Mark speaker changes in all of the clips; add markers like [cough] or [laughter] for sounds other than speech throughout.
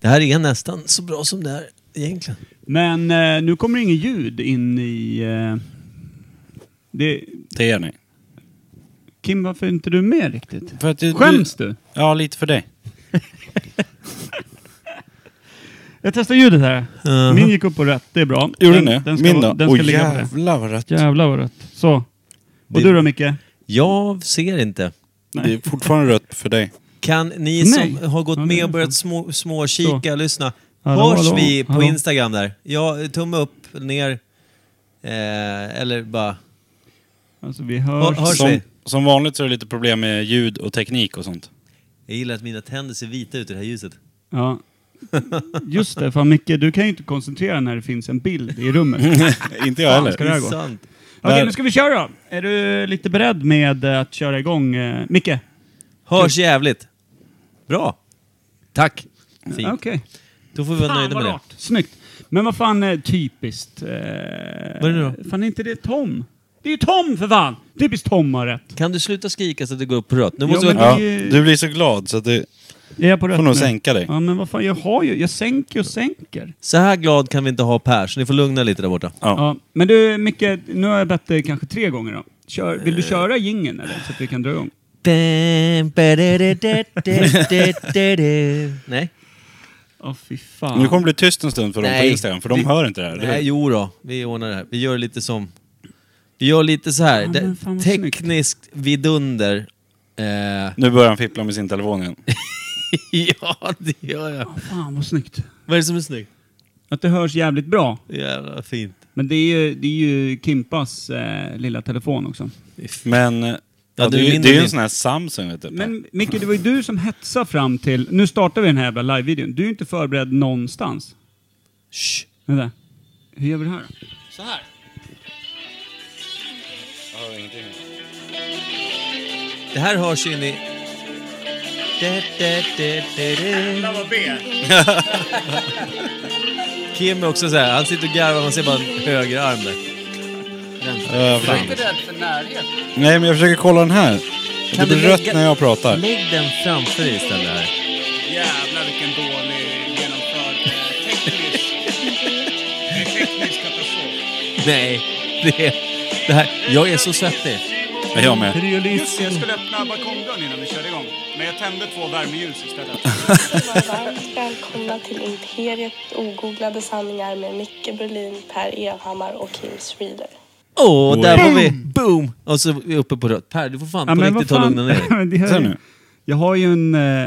Speaker 1: Det här är nästan så bra som det är egentligen.
Speaker 2: Men eh, nu kommer det inget ljud in i... Eh, det,
Speaker 3: Det gör ni.
Speaker 2: Kim, varför är inte du med riktigt?
Speaker 3: För att du,
Speaker 2: Skäms du?
Speaker 3: Ja, lite för dig.
Speaker 2: Jag testar ljudet här.
Speaker 1: Mhm.
Speaker 2: Min gick upp på rätt, det är bra.
Speaker 3: Uh-huh. Gjorde
Speaker 2: den,
Speaker 3: den det?
Speaker 2: Den ska,
Speaker 3: Min
Speaker 2: vara-
Speaker 3: då?
Speaker 2: Den ska
Speaker 3: Åh
Speaker 2: ligga på det.
Speaker 3: jävlar vad rött.
Speaker 2: Jävlar vad rött. Så. Och
Speaker 1: Det-
Speaker 2: du då Micke?
Speaker 1: Jag ser inte.
Speaker 3: Det är fortfarande rött för dig.
Speaker 1: Kan ni
Speaker 2: Nej.
Speaker 1: som har gått
Speaker 2: Ja, det är
Speaker 1: med och
Speaker 2: sant.
Speaker 1: börjat små, småkika, lyssna.
Speaker 2: Hallå,
Speaker 1: hörs
Speaker 2: hallå,
Speaker 1: vi på
Speaker 2: hallå.
Speaker 1: Instagram där? Ja, tumme upp, ner. Eh, eller bara...
Speaker 2: Alltså vi hörs.
Speaker 1: Hörs vi?
Speaker 3: Som, som vanligt så är det lite problem med ljud och teknik och sånt.
Speaker 1: Jag gillar att mina tänder ser vita ut i det här ljuset.
Speaker 3: [laughs]
Speaker 2: Ja. Just det, fan Micke, du kan ju inte koncentrera när det finns en bild i
Speaker 3: [laughs]
Speaker 2: rummet.
Speaker 3: Inte jag
Speaker 2: Ska
Speaker 3: heller.
Speaker 2: det här gå?
Speaker 1: Sant.
Speaker 2: Okej, nu ska vi köra då. Är du lite beredd med eh, att köra igång? eh, Micke?
Speaker 1: Hörs jävligt. Bra. Tack. Fint.
Speaker 2: Okej.
Speaker 1: Då får vi vara
Speaker 2: Fan
Speaker 1: nöjda
Speaker 2: vad
Speaker 1: med det.
Speaker 2: rart. Snyggt. Men vad fan är typiskt? Eh,
Speaker 1: Vad är det då?
Speaker 2: Fan är inte det Tom? Det är ju Tom för fan! Typiskt Tom har rätt.
Speaker 1: Kan du sluta skrika så att det går upp på rött? Nu
Speaker 2: Ja,
Speaker 1: måste
Speaker 2: men-
Speaker 1: vi...
Speaker 3: Ja, du blir så glad så att du
Speaker 2: Är jag på rätt
Speaker 3: får nog
Speaker 2: nu?
Speaker 3: sänka dig.
Speaker 2: Ja men vad fan, jag har ju, jag sänker och sänker.
Speaker 1: Så här glad kan vi inte ha Per, så ni får lugna lite där borta.
Speaker 3: Ja.
Speaker 2: Ja, men du Micke, nu har jag bett dig kanske tre gånger då. Kör, vill du
Speaker 3: Eh.
Speaker 2: köra jingeln eller? Så att vi kan dra igång.
Speaker 1: Nej.
Speaker 2: Åh fy
Speaker 3: Men
Speaker 2: fan.
Speaker 3: det kommer bli tyst en stund för dem på
Speaker 1: Nej.
Speaker 3: Instagram, för de
Speaker 1: Vi-
Speaker 3: hör inte det här. eller hur?
Speaker 1: Nej, jo då. Vi ordnar det här. Vi gör lite som... Vi gör lite så här.
Speaker 2: Ja,
Speaker 1: Det-
Speaker 2: men fan vad snyggt.
Speaker 1: tekniskt vidunder. Eh,
Speaker 3: Nu börjar han fippla med sin telefon igen.
Speaker 1: [laughs] ja, det gör jag.
Speaker 2: Fan vad snyggt.
Speaker 1: Vad är det som är snyggt?
Speaker 2: Att det hörs jävligt bra.
Speaker 1: Jävla fint.
Speaker 2: Men det är ju, det är ju Kimpas eh, lilla telefon också.
Speaker 3: Men eh, ja,
Speaker 1: du
Speaker 3: det, är ju-
Speaker 1: vinner
Speaker 3: det är ju
Speaker 1: din.
Speaker 3: en sån här Samsung vet du.
Speaker 2: Men Micke, det var ju du som hetsade fram till... Nu startar vi den här jävla live-videon. Du är ju inte förberedd någonstans.
Speaker 1: Shh.
Speaker 2: Vänta. Hur gör vi det här då?
Speaker 3: Så här. Jag hör ingenting.
Speaker 1: Det här hörs ju in [laughs] i... Da, da, da, da, da. Kim är också så här. Han sitter och garvar. Man ser bara en höger arm där.
Speaker 3: Eh,
Speaker 4: Jag är
Speaker 3: fan.
Speaker 4: inte rädd för närhet.
Speaker 3: Nej, men jag försöker kolla den här.
Speaker 1: Kan
Speaker 3: det blir
Speaker 1: du
Speaker 3: rött
Speaker 1: lägga-
Speaker 3: när jag pratar.
Speaker 1: Lägg den framför dig istället här.
Speaker 4: Jävlar vilken dålig genomförd eh, teknisk... en teknisk katastrof.
Speaker 1: Nej, det, det här, jag är så svettig.
Speaker 3: Ja, Jag med.
Speaker 4: Just det, jag skulle öppna balkongdörren innan vi körde igång. Men jag tände två värmeljus istället.
Speaker 5: Varmt välkomna till Imperiet ogooglade sanningar med Micke Berlin, Per Evhammar och Kim Reader.
Speaker 1: Åh,
Speaker 3: Oj.
Speaker 1: där var vi. Boom! Och så är vi uppe på rött. Per, du får fan på riktigt ta lugna ner
Speaker 2: [laughs]
Speaker 1: dig.
Speaker 2: det här
Speaker 3: Sen
Speaker 2: är-
Speaker 3: nu.
Speaker 2: Jag har ju en, eh, [clears throat] jag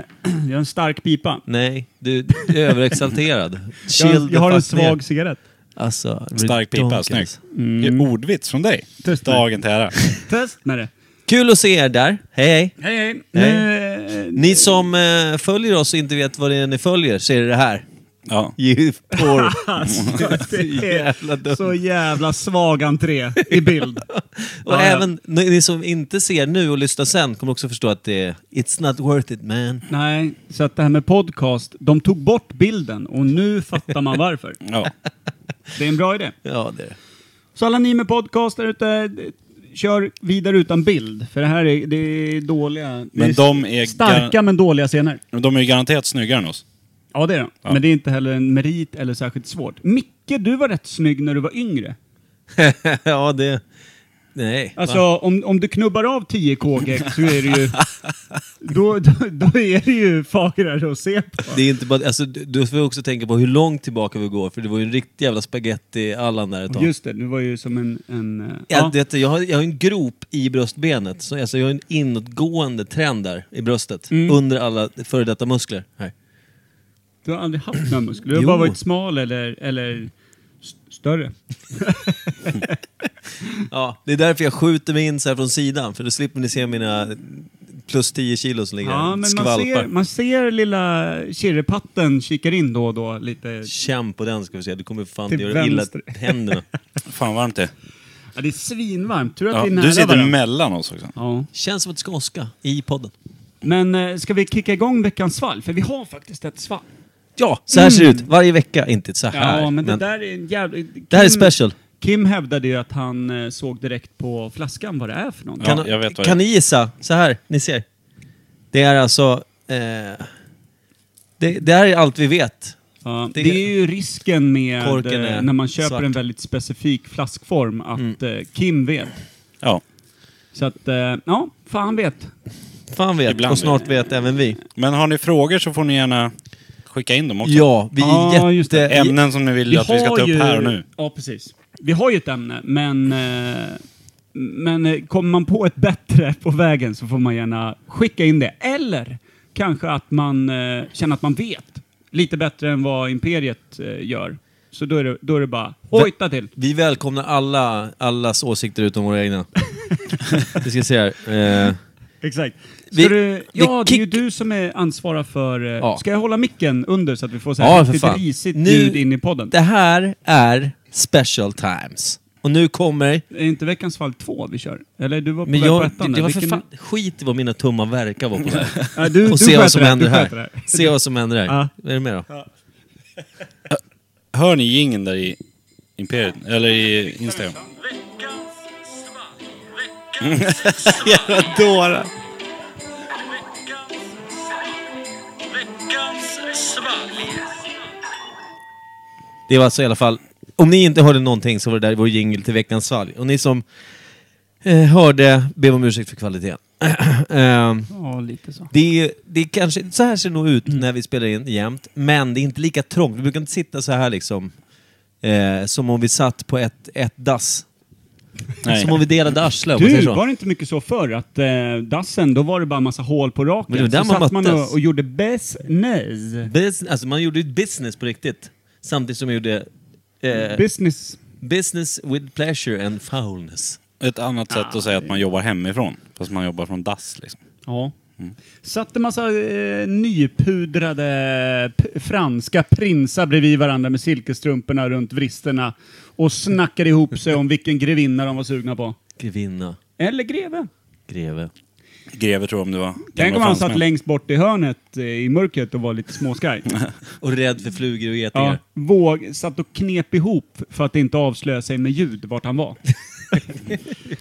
Speaker 2: har en stark pipa.
Speaker 1: Nej, du, du är överexalterad. Chill
Speaker 2: [laughs] Jag,
Speaker 1: the
Speaker 2: jag har en
Speaker 1: fuck ner.
Speaker 2: svag cigarett.
Speaker 1: Alltså,
Speaker 3: Stark pipa,
Speaker 1: ridiculous.
Speaker 3: snyggt. Det är ordvits från dig.
Speaker 2: Testa.
Speaker 3: Dagen till ära.
Speaker 2: Test med det.
Speaker 1: Kul att se er där. Hej, hej.
Speaker 2: Hej, hej.
Speaker 1: Hej.
Speaker 2: Nu-
Speaker 1: Ni som eh, följer oss och inte vet vad det är ni följer, så är det det här.
Speaker 3: Ja.
Speaker 1: You poor...
Speaker 2: [laughs] Det
Speaker 1: Jävla dumt.
Speaker 2: är så jävla svag entré i bild.
Speaker 1: Och
Speaker 2: Ja, ja.
Speaker 1: även ni ni som inte ser nu och lyssnar sen kommer också förstå att det är... It's not worth it man.
Speaker 2: Nej, så att det här med podcast, de tog bort bilden och nu fattar man varför.
Speaker 3: ja.
Speaker 2: Det är en bra idé.
Speaker 1: Ja, det är det.
Speaker 2: Så alla ni med podcast där ute, d- kör vidare utan bild. För det här är, det är dåliga... det
Speaker 3: Men de är
Speaker 2: starka
Speaker 3: gar-
Speaker 2: men dåliga scener.
Speaker 3: Men De är ju garanterat snyggare än oss.
Speaker 2: Ja, det är de. Men det är inte heller en merit eller särskilt svårt. Micke, du var rätt snygg när du var yngre.
Speaker 1: ja, det... [laughs] Nej. va?
Speaker 2: Alltså, om, om du knubbar av 10 kg så är
Speaker 1: [laughs]
Speaker 2: det ju... då, då, då är det ju fagrare att se på.
Speaker 1: Det är inte bara, alltså, du du får också tänka på hur långt tillbaka vi går, för det var ju en riktig jävla spagetti-Allan där ett tag.
Speaker 2: Just det, du var ju som en... en eh,
Speaker 1: Ja,
Speaker 2: ja.
Speaker 1: det, jag, har, jag har en grop i bröstbenet, så alltså, jag har en inåtgående trend där i bröstet,
Speaker 2: Mm.
Speaker 1: under alla före detta muskler. Här.
Speaker 2: Du har aldrig haft några muskler. Du har
Speaker 1: Jo.
Speaker 2: bara varit smal eller, eller st- större.
Speaker 1: Ja, det är därför jag skjuter mig in så här från sidan, för då slipper ni se mina plus 10 kilo som ligger
Speaker 2: Ja,
Speaker 1: här,
Speaker 2: men man
Speaker 1: skvalpar.
Speaker 2: ser, man ser lilla kirrepatten kikar in då och då lite.
Speaker 1: Känn på den ska vi se, du kommer fan
Speaker 2: Till
Speaker 1: göra illa
Speaker 2: vänster.
Speaker 1: händerna.
Speaker 3: Fan varmt det är.
Speaker 2: Ja, det är svinvarmt. Tror att
Speaker 3: ja.
Speaker 2: vi är nära
Speaker 3: Du sitter
Speaker 2: varandra.
Speaker 3: mellan oss också.
Speaker 2: Ja.
Speaker 1: [laughs] Känns som att det ska åska i podden.
Speaker 2: Men eh, ska vi kicka igång veckans svalg? För vi har faktiskt ett svalg.
Speaker 1: Ja, så här ser det ut. Varje vecka, inte så här.
Speaker 2: Ja, men det där är en jävla...
Speaker 1: det här är
Speaker 2: Kim-
Speaker 1: special.
Speaker 2: Kim hävdade ju att han eh, såg direkt på flaskan vad det är för någonting.
Speaker 3: Ja,
Speaker 1: Kan,
Speaker 3: jag vet vad
Speaker 1: kan
Speaker 3: det
Speaker 1: ni gissa? Så här, ni ser. Det är alltså... Eh, Det, det här är allt vi vet.
Speaker 2: Ja,
Speaker 1: Det-
Speaker 2: det, är ju risken med
Speaker 1: Korken är
Speaker 2: eh, när man köper
Speaker 1: svart. Mm.
Speaker 2: en väldigt specifik flaskform att eh, Kim vet.
Speaker 3: Ja.
Speaker 2: Så att, eh, ja, fan han vet.
Speaker 1: Fan vet,
Speaker 3: Ibland.
Speaker 1: och snart vet även vi.
Speaker 3: Men har ni frågor så får ni gärna skicka in dem också.
Speaker 1: Ja, vi är
Speaker 2: Ja, just
Speaker 1: jätte...
Speaker 2: det.
Speaker 3: Ämnen som ni vill att vi ska
Speaker 2: har
Speaker 3: ta upp
Speaker 2: ju-
Speaker 3: här och nu.
Speaker 2: Ja, precis. Vi har ju ett ämne, men, eh, men eh, kommer man på ett bättre på vägen så får man gärna skicka in det. Eller kanske att man eh, känner att man vet lite bättre än vad Imperiet eh, gör. Så då är det, då är det bara hojta till.
Speaker 1: Vi välkomnar alla, allas åsikter utom våra egna. vi ska se här. Eh,
Speaker 2: Exakt. Ska
Speaker 1: Vi-
Speaker 2: du,
Speaker 1: vi
Speaker 2: ja, det är ju
Speaker 1: kick-
Speaker 2: du som är ansvarig för... eh,
Speaker 1: Ja.
Speaker 2: Ska jag hålla micken under så att vi får så här
Speaker 1: Ja, för
Speaker 2: riktigt
Speaker 1: fan.
Speaker 2: risigt
Speaker 1: Nu-
Speaker 2: ljud in i podden?
Speaker 1: det här är special times. Och nu kommer...
Speaker 2: Är inte veckans fall två vi kör? Eller du var på
Speaker 1: Men
Speaker 2: väg på
Speaker 1: jag, det,
Speaker 2: ettan
Speaker 1: det
Speaker 2: där.
Speaker 1: var för
Speaker 2: Vilken-
Speaker 1: fan, skit i vad mina tummar verkar vara på väg.
Speaker 2: [laughs] Ja, du, du
Speaker 1: Och se vad
Speaker 2: sköter
Speaker 1: som
Speaker 2: det här,
Speaker 1: händer
Speaker 2: du
Speaker 1: här.
Speaker 2: sköter det
Speaker 1: Se vad som händer här.
Speaker 2: Ja.
Speaker 1: Är du med då?
Speaker 3: Hör ni jingeln där i Imperiet? Eller i Instagram? Jävla dårar.
Speaker 1: Det var alltså i alla fall... Om ni inte hörde någonting så var det där vår jingle till veckans svalg. Och ni som eh, hörde, ber om ursäkt för kvaliteten. [clears throat] Ehm,
Speaker 2: Ja, lite så.
Speaker 1: Det är, det är kanske, så här ser det nog ut
Speaker 2: Mm.
Speaker 1: när vi spelar in jämt, men det är inte lika trångt. Vi brukar inte sitta så här liksom, eh, som om vi satt på ett, ett dass.
Speaker 3: Nej.
Speaker 1: Som om vi delade arsle, om man säger
Speaker 2: Du,
Speaker 1: så.
Speaker 2: var det inte mycket så förr att eh, dassen, då var det bara massa hål på raken.
Speaker 1: Men det var där
Speaker 2: så
Speaker 1: man
Speaker 2: satt man
Speaker 1: möttes.
Speaker 2: och, och gjorde business.
Speaker 1: Bus- alltså, man gjorde ju ett business på riktigt, samtidigt som man gjorde eh,
Speaker 2: Business.
Speaker 1: business with pleasure and foulness.
Speaker 3: Ett annat sätt att säga att man jobbar hemifrån. Fast man jobbar från dass liksom.
Speaker 2: Ja. Satt en Mm. massa eh, nypudrade p- franska prinsar bredvid varandra med silkesstrumporna runt vristerna och snackade ihop sig om vilken grevinna de var sugna på.
Speaker 1: Grevinna,
Speaker 2: Eller greve.
Speaker 1: greve.
Speaker 3: Greve tror jag om det var.
Speaker 2: Tänk om han satt
Speaker 3: fransmän.
Speaker 2: längst bort i hörnet eh, i mörkret och var
Speaker 1: [laughs]
Speaker 2: lite småskaj.
Speaker 1: Och rädd för flugor och getingar.
Speaker 2: Ja, våg, satt och knep ihop för att inte avslöja sig med ljud vart han
Speaker 3: [laughs]
Speaker 2: var.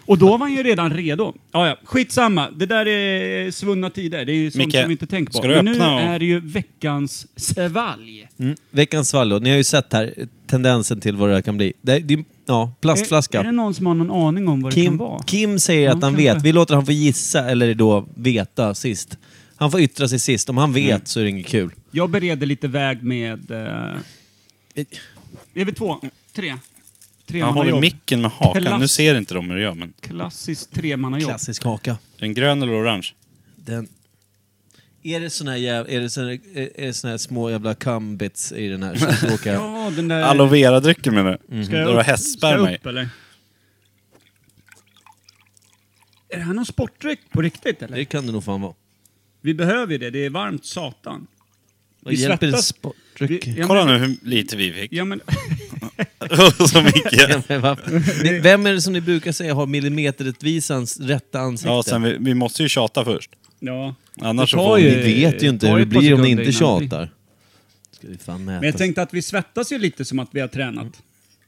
Speaker 2: och då var han ju redan redo. Ja, ja, skitsamma. Det där är svunna tider. Det är ju sånt
Speaker 3: Micke,
Speaker 2: som vi inte tänker på.
Speaker 3: ska du
Speaker 2: Men nu
Speaker 3: öppna och-
Speaker 2: är det ju veckans svalg.
Speaker 1: Mm. Veckans fall då. Ni har ju sett här eh, tendensen till vad det här kan bli. Det, det, ja, plastflaska.
Speaker 2: Är, är det någon som har någon aning om vad det kan
Speaker 1: Kim,
Speaker 2: vara?
Speaker 1: Kim säger att
Speaker 2: Ja,
Speaker 1: han
Speaker 2: kanske.
Speaker 1: vet. Vi låter han få gissa, eller då veta sist. Han får yttra sig sist. Om han vet
Speaker 2: Mm.
Speaker 1: så är det inget kul.
Speaker 2: Jag bereder lite väg med... Eh, är vi två? Tre? Tre
Speaker 3: Han håller micken med hakan.
Speaker 2: Plast.
Speaker 3: Nu ser inte de hur du gör men.
Speaker 2: Klassiskt tremannajobb.
Speaker 1: Klassisk haka.
Speaker 3: Är den grön eller orange?
Speaker 1: Den... Är det såna här, jäv... är det såna... Är det såna här små jävla cumbits i den här? som ska åka?
Speaker 2: [laughs] Ja, den där...
Speaker 3: Aloe vera-drycken menar
Speaker 2: Eh.
Speaker 3: du?
Speaker 2: Mm. Ska
Speaker 3: Det
Speaker 2: jag
Speaker 3: var
Speaker 2: upp- Ska
Speaker 3: hästsperma
Speaker 2: jag
Speaker 3: i.
Speaker 2: upp eller? Är det här någon sportdryck på riktigt eller?
Speaker 1: Det kan det nog fan vara.
Speaker 2: Vi behöver ju det, det är varmt satan.
Speaker 1: Vad hjälper det
Speaker 2: svettas.
Speaker 1: sportdryck?
Speaker 2: Vi- ja,
Speaker 3: Kolla
Speaker 2: men-
Speaker 3: nu hur lite vi fick.
Speaker 2: Ja men, [laughs]
Speaker 3: Som
Speaker 1: [laughs]
Speaker 3: Micke.
Speaker 1: Ja, men varför? Ni- Vem är det som ni brukar säga har millimeterrättvisans rätta ansikte?
Speaker 3: Ja, sen vi, vi måste ju tjata först.
Speaker 2: ja. Det
Speaker 3: Annars så
Speaker 2: tar
Speaker 3: får
Speaker 2: ju-
Speaker 1: Ni
Speaker 3: vi...
Speaker 1: vet ju inte
Speaker 2: Det
Speaker 1: hur
Speaker 2: var
Speaker 1: det
Speaker 2: ju ett par
Speaker 1: blir om ni
Speaker 2: sekunder
Speaker 1: inte
Speaker 2: innan vi-
Speaker 1: tjatar. Ska vi fan mäta?
Speaker 2: Men jag tänkte att vi svettas ju lite som att vi har tränat.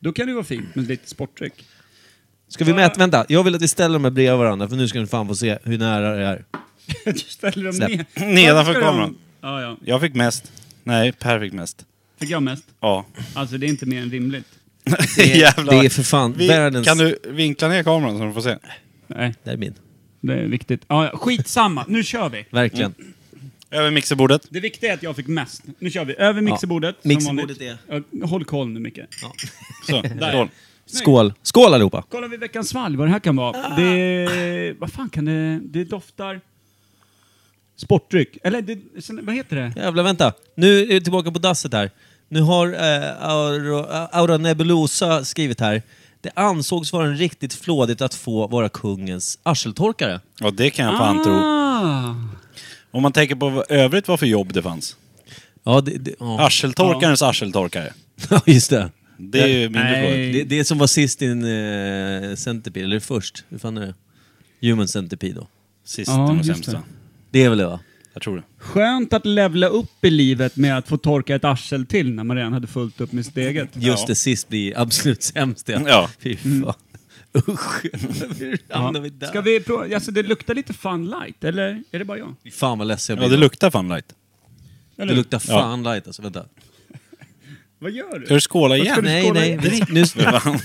Speaker 2: Då kan det ju vara fint med lite sportdryck. [laughs]
Speaker 1: Ska vi mäta? Vänta, jag vill att vi ställer dem här bredvid varandra för nu ska ni fan få se hur nära det är.
Speaker 2: du ställer dem
Speaker 1: Släpp.
Speaker 2: ner.
Speaker 3: Nedanför
Speaker 2: Varför ska
Speaker 3: kameran.
Speaker 2: de- Ja, ja.
Speaker 3: Jag fick mest. Nej, Per fick mest.
Speaker 2: Fick jag mest?
Speaker 3: Ja.
Speaker 2: Alltså det är inte mer än rimligt.
Speaker 1: Det är-
Speaker 3: [laughs] Jävlar.
Speaker 1: det är för fan världens-
Speaker 3: Kan du vinkla ner kameran så de får se?
Speaker 2: Nej,
Speaker 1: Det är min.
Speaker 2: det är viktigt. Ja, ja. Skitsamma, nu kör vi.
Speaker 1: Verkligen.
Speaker 2: Mm.
Speaker 3: Över mixerbordet.
Speaker 2: Det viktiga är att jag fick mest. Nu kör vi. Över mixerbordet. som
Speaker 1: mixerbordet
Speaker 2: vanligt. Ja, Håll koll nu Micke. [laughs]
Speaker 3: Så, skål.
Speaker 1: Skål. Skål allihopa!
Speaker 2: Kollar vi veckans svalg, vad det här kan vara. Det... Vad fan kan det... Det doftar... Sportdryck. Eller det... sen- Vad heter det?
Speaker 1: Jävlar, vänta. Nu är vi tillbaka på dasset här. Nu har eh, Aura, Aura Nebulosa skrivit här. Det ansågs vara en riktigt flådigt att få vara kungens arseltorkare.
Speaker 3: Ja, det kan jag fan tro.
Speaker 2: Ah!
Speaker 3: Om man tänker på vad övrigt vad för jobb det fanns.
Speaker 1: Ja, det, det, ja.
Speaker 3: Arseltorkarens arseltorkare.
Speaker 1: [laughs] Ja, just det.
Speaker 3: Det är ju mindre
Speaker 2: Nej.
Speaker 3: frågor.
Speaker 1: Det, det som var sist i en eh, centipede, eller först, hur fan är det? Human centipede då.
Speaker 3: Sist
Speaker 2: Ja,
Speaker 3: och
Speaker 2: just
Speaker 3: sämsta.
Speaker 2: det.
Speaker 1: Det är väl det va?
Speaker 3: Jag tror det.
Speaker 2: Skönt att levla upp i livet med att få torka ett arsel till när man redan hade fullt upp med sitt eget.
Speaker 1: Just
Speaker 3: Ja.
Speaker 1: det, sist blir absolut sämst
Speaker 3: Ja.
Speaker 1: Fy fan. Usch. [laughs] Hur hamnar vi där?
Speaker 2: Ska vi prova? Alltså det luktar lite fun light, eller? Är det bara jag?
Speaker 1: Fy Fan vad ledsen jag
Speaker 3: Ja,
Speaker 1: blir.
Speaker 3: det luktar fan light.
Speaker 1: Det luktar fan light alltså, vänta.
Speaker 2: Vad gör du?
Speaker 3: Ska du skåla igen?
Speaker 2: ska du
Speaker 1: nej,
Speaker 2: skåla
Speaker 1: nej.
Speaker 2: i
Speaker 1: Vi, nu, [laughs]
Speaker 3: Vann.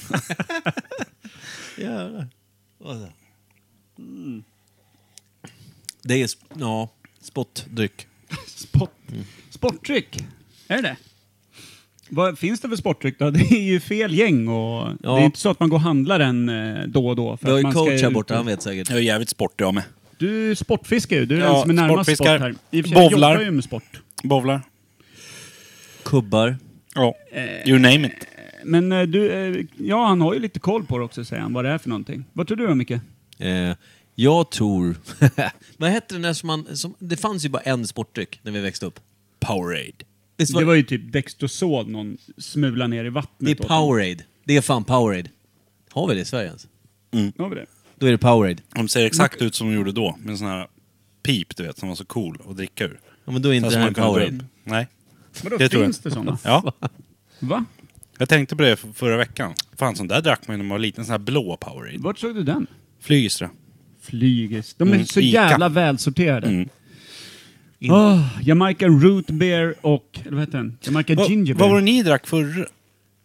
Speaker 1: Jävlar. Och så. Mm. Det är, sp- ja, spottdryck.
Speaker 2: Sport, sportdryck? Är det det? Vad finns det för sportdryck då? [laughs] Det är ju fel gäng och
Speaker 1: Ja.
Speaker 2: det är inte så att man går och handlar den eh, då och då. För
Speaker 1: Vi har
Speaker 2: att
Speaker 1: ju
Speaker 2: man ska
Speaker 1: coach här
Speaker 2: ut-
Speaker 1: borta, han vet säkert.
Speaker 3: [laughs] Jag är jävligt sportig jag med.
Speaker 2: Du sportfiskar ju, du är
Speaker 3: Ja,
Speaker 2: den som är närmast sport
Speaker 3: sportfiskar.
Speaker 2: här. I och för sig
Speaker 3: Bowlar.
Speaker 2: jobbar ju med sport.
Speaker 3: Bowlar.
Speaker 1: Kubbar.
Speaker 3: Ja.
Speaker 2: Eh.
Speaker 3: You name it.
Speaker 2: Men eh, du, eh, ja han har ju lite koll på det också säger han, vad det är för någonting. Vad tror du då Micke?
Speaker 1: Eh, jag tror... [laughs] Vad hette den där som man... Som, det fanns ju bara en sportdryck när vi växte upp.
Speaker 3: Powerade.
Speaker 1: Visst var
Speaker 2: Det
Speaker 1: det,
Speaker 2: var ju typ Dextrosol någon smula ner i vattnet.
Speaker 1: det är
Speaker 2: åt
Speaker 1: Powerade. Det är fan Powerade. Har vi det i Sverige ens?
Speaker 2: honom. Har vi det?
Speaker 1: Då är det Powerade.
Speaker 3: De ser exakt ut som de gjorde då, med en sån här pip du vet, som var så cool att dricka ur.
Speaker 1: Ja, men då är inte
Speaker 3: Fast
Speaker 1: det här
Speaker 3: man kunde dra
Speaker 1: Powerade.
Speaker 3: upp. Nej.
Speaker 2: Vadå,
Speaker 3: Det tror jag.
Speaker 2: finns det sådana?
Speaker 3: Ja.
Speaker 2: Va?
Speaker 3: Jag tänkte på det f- förra veckan. Fan, sån där drack man när man var liten. Sån här blå Powerade.
Speaker 2: Vart såg du den?
Speaker 3: Flygistra.
Speaker 2: Flygis. De är
Speaker 3: Mm,
Speaker 2: så
Speaker 3: Ica.
Speaker 2: jävla välsorterade.
Speaker 3: Mm.
Speaker 1: In-
Speaker 2: Ah, Jamaica Root Beer och, eller vad heter den? Jamaica
Speaker 3: Va,
Speaker 2: Ginger Beer.
Speaker 3: vad var det ni drack förr,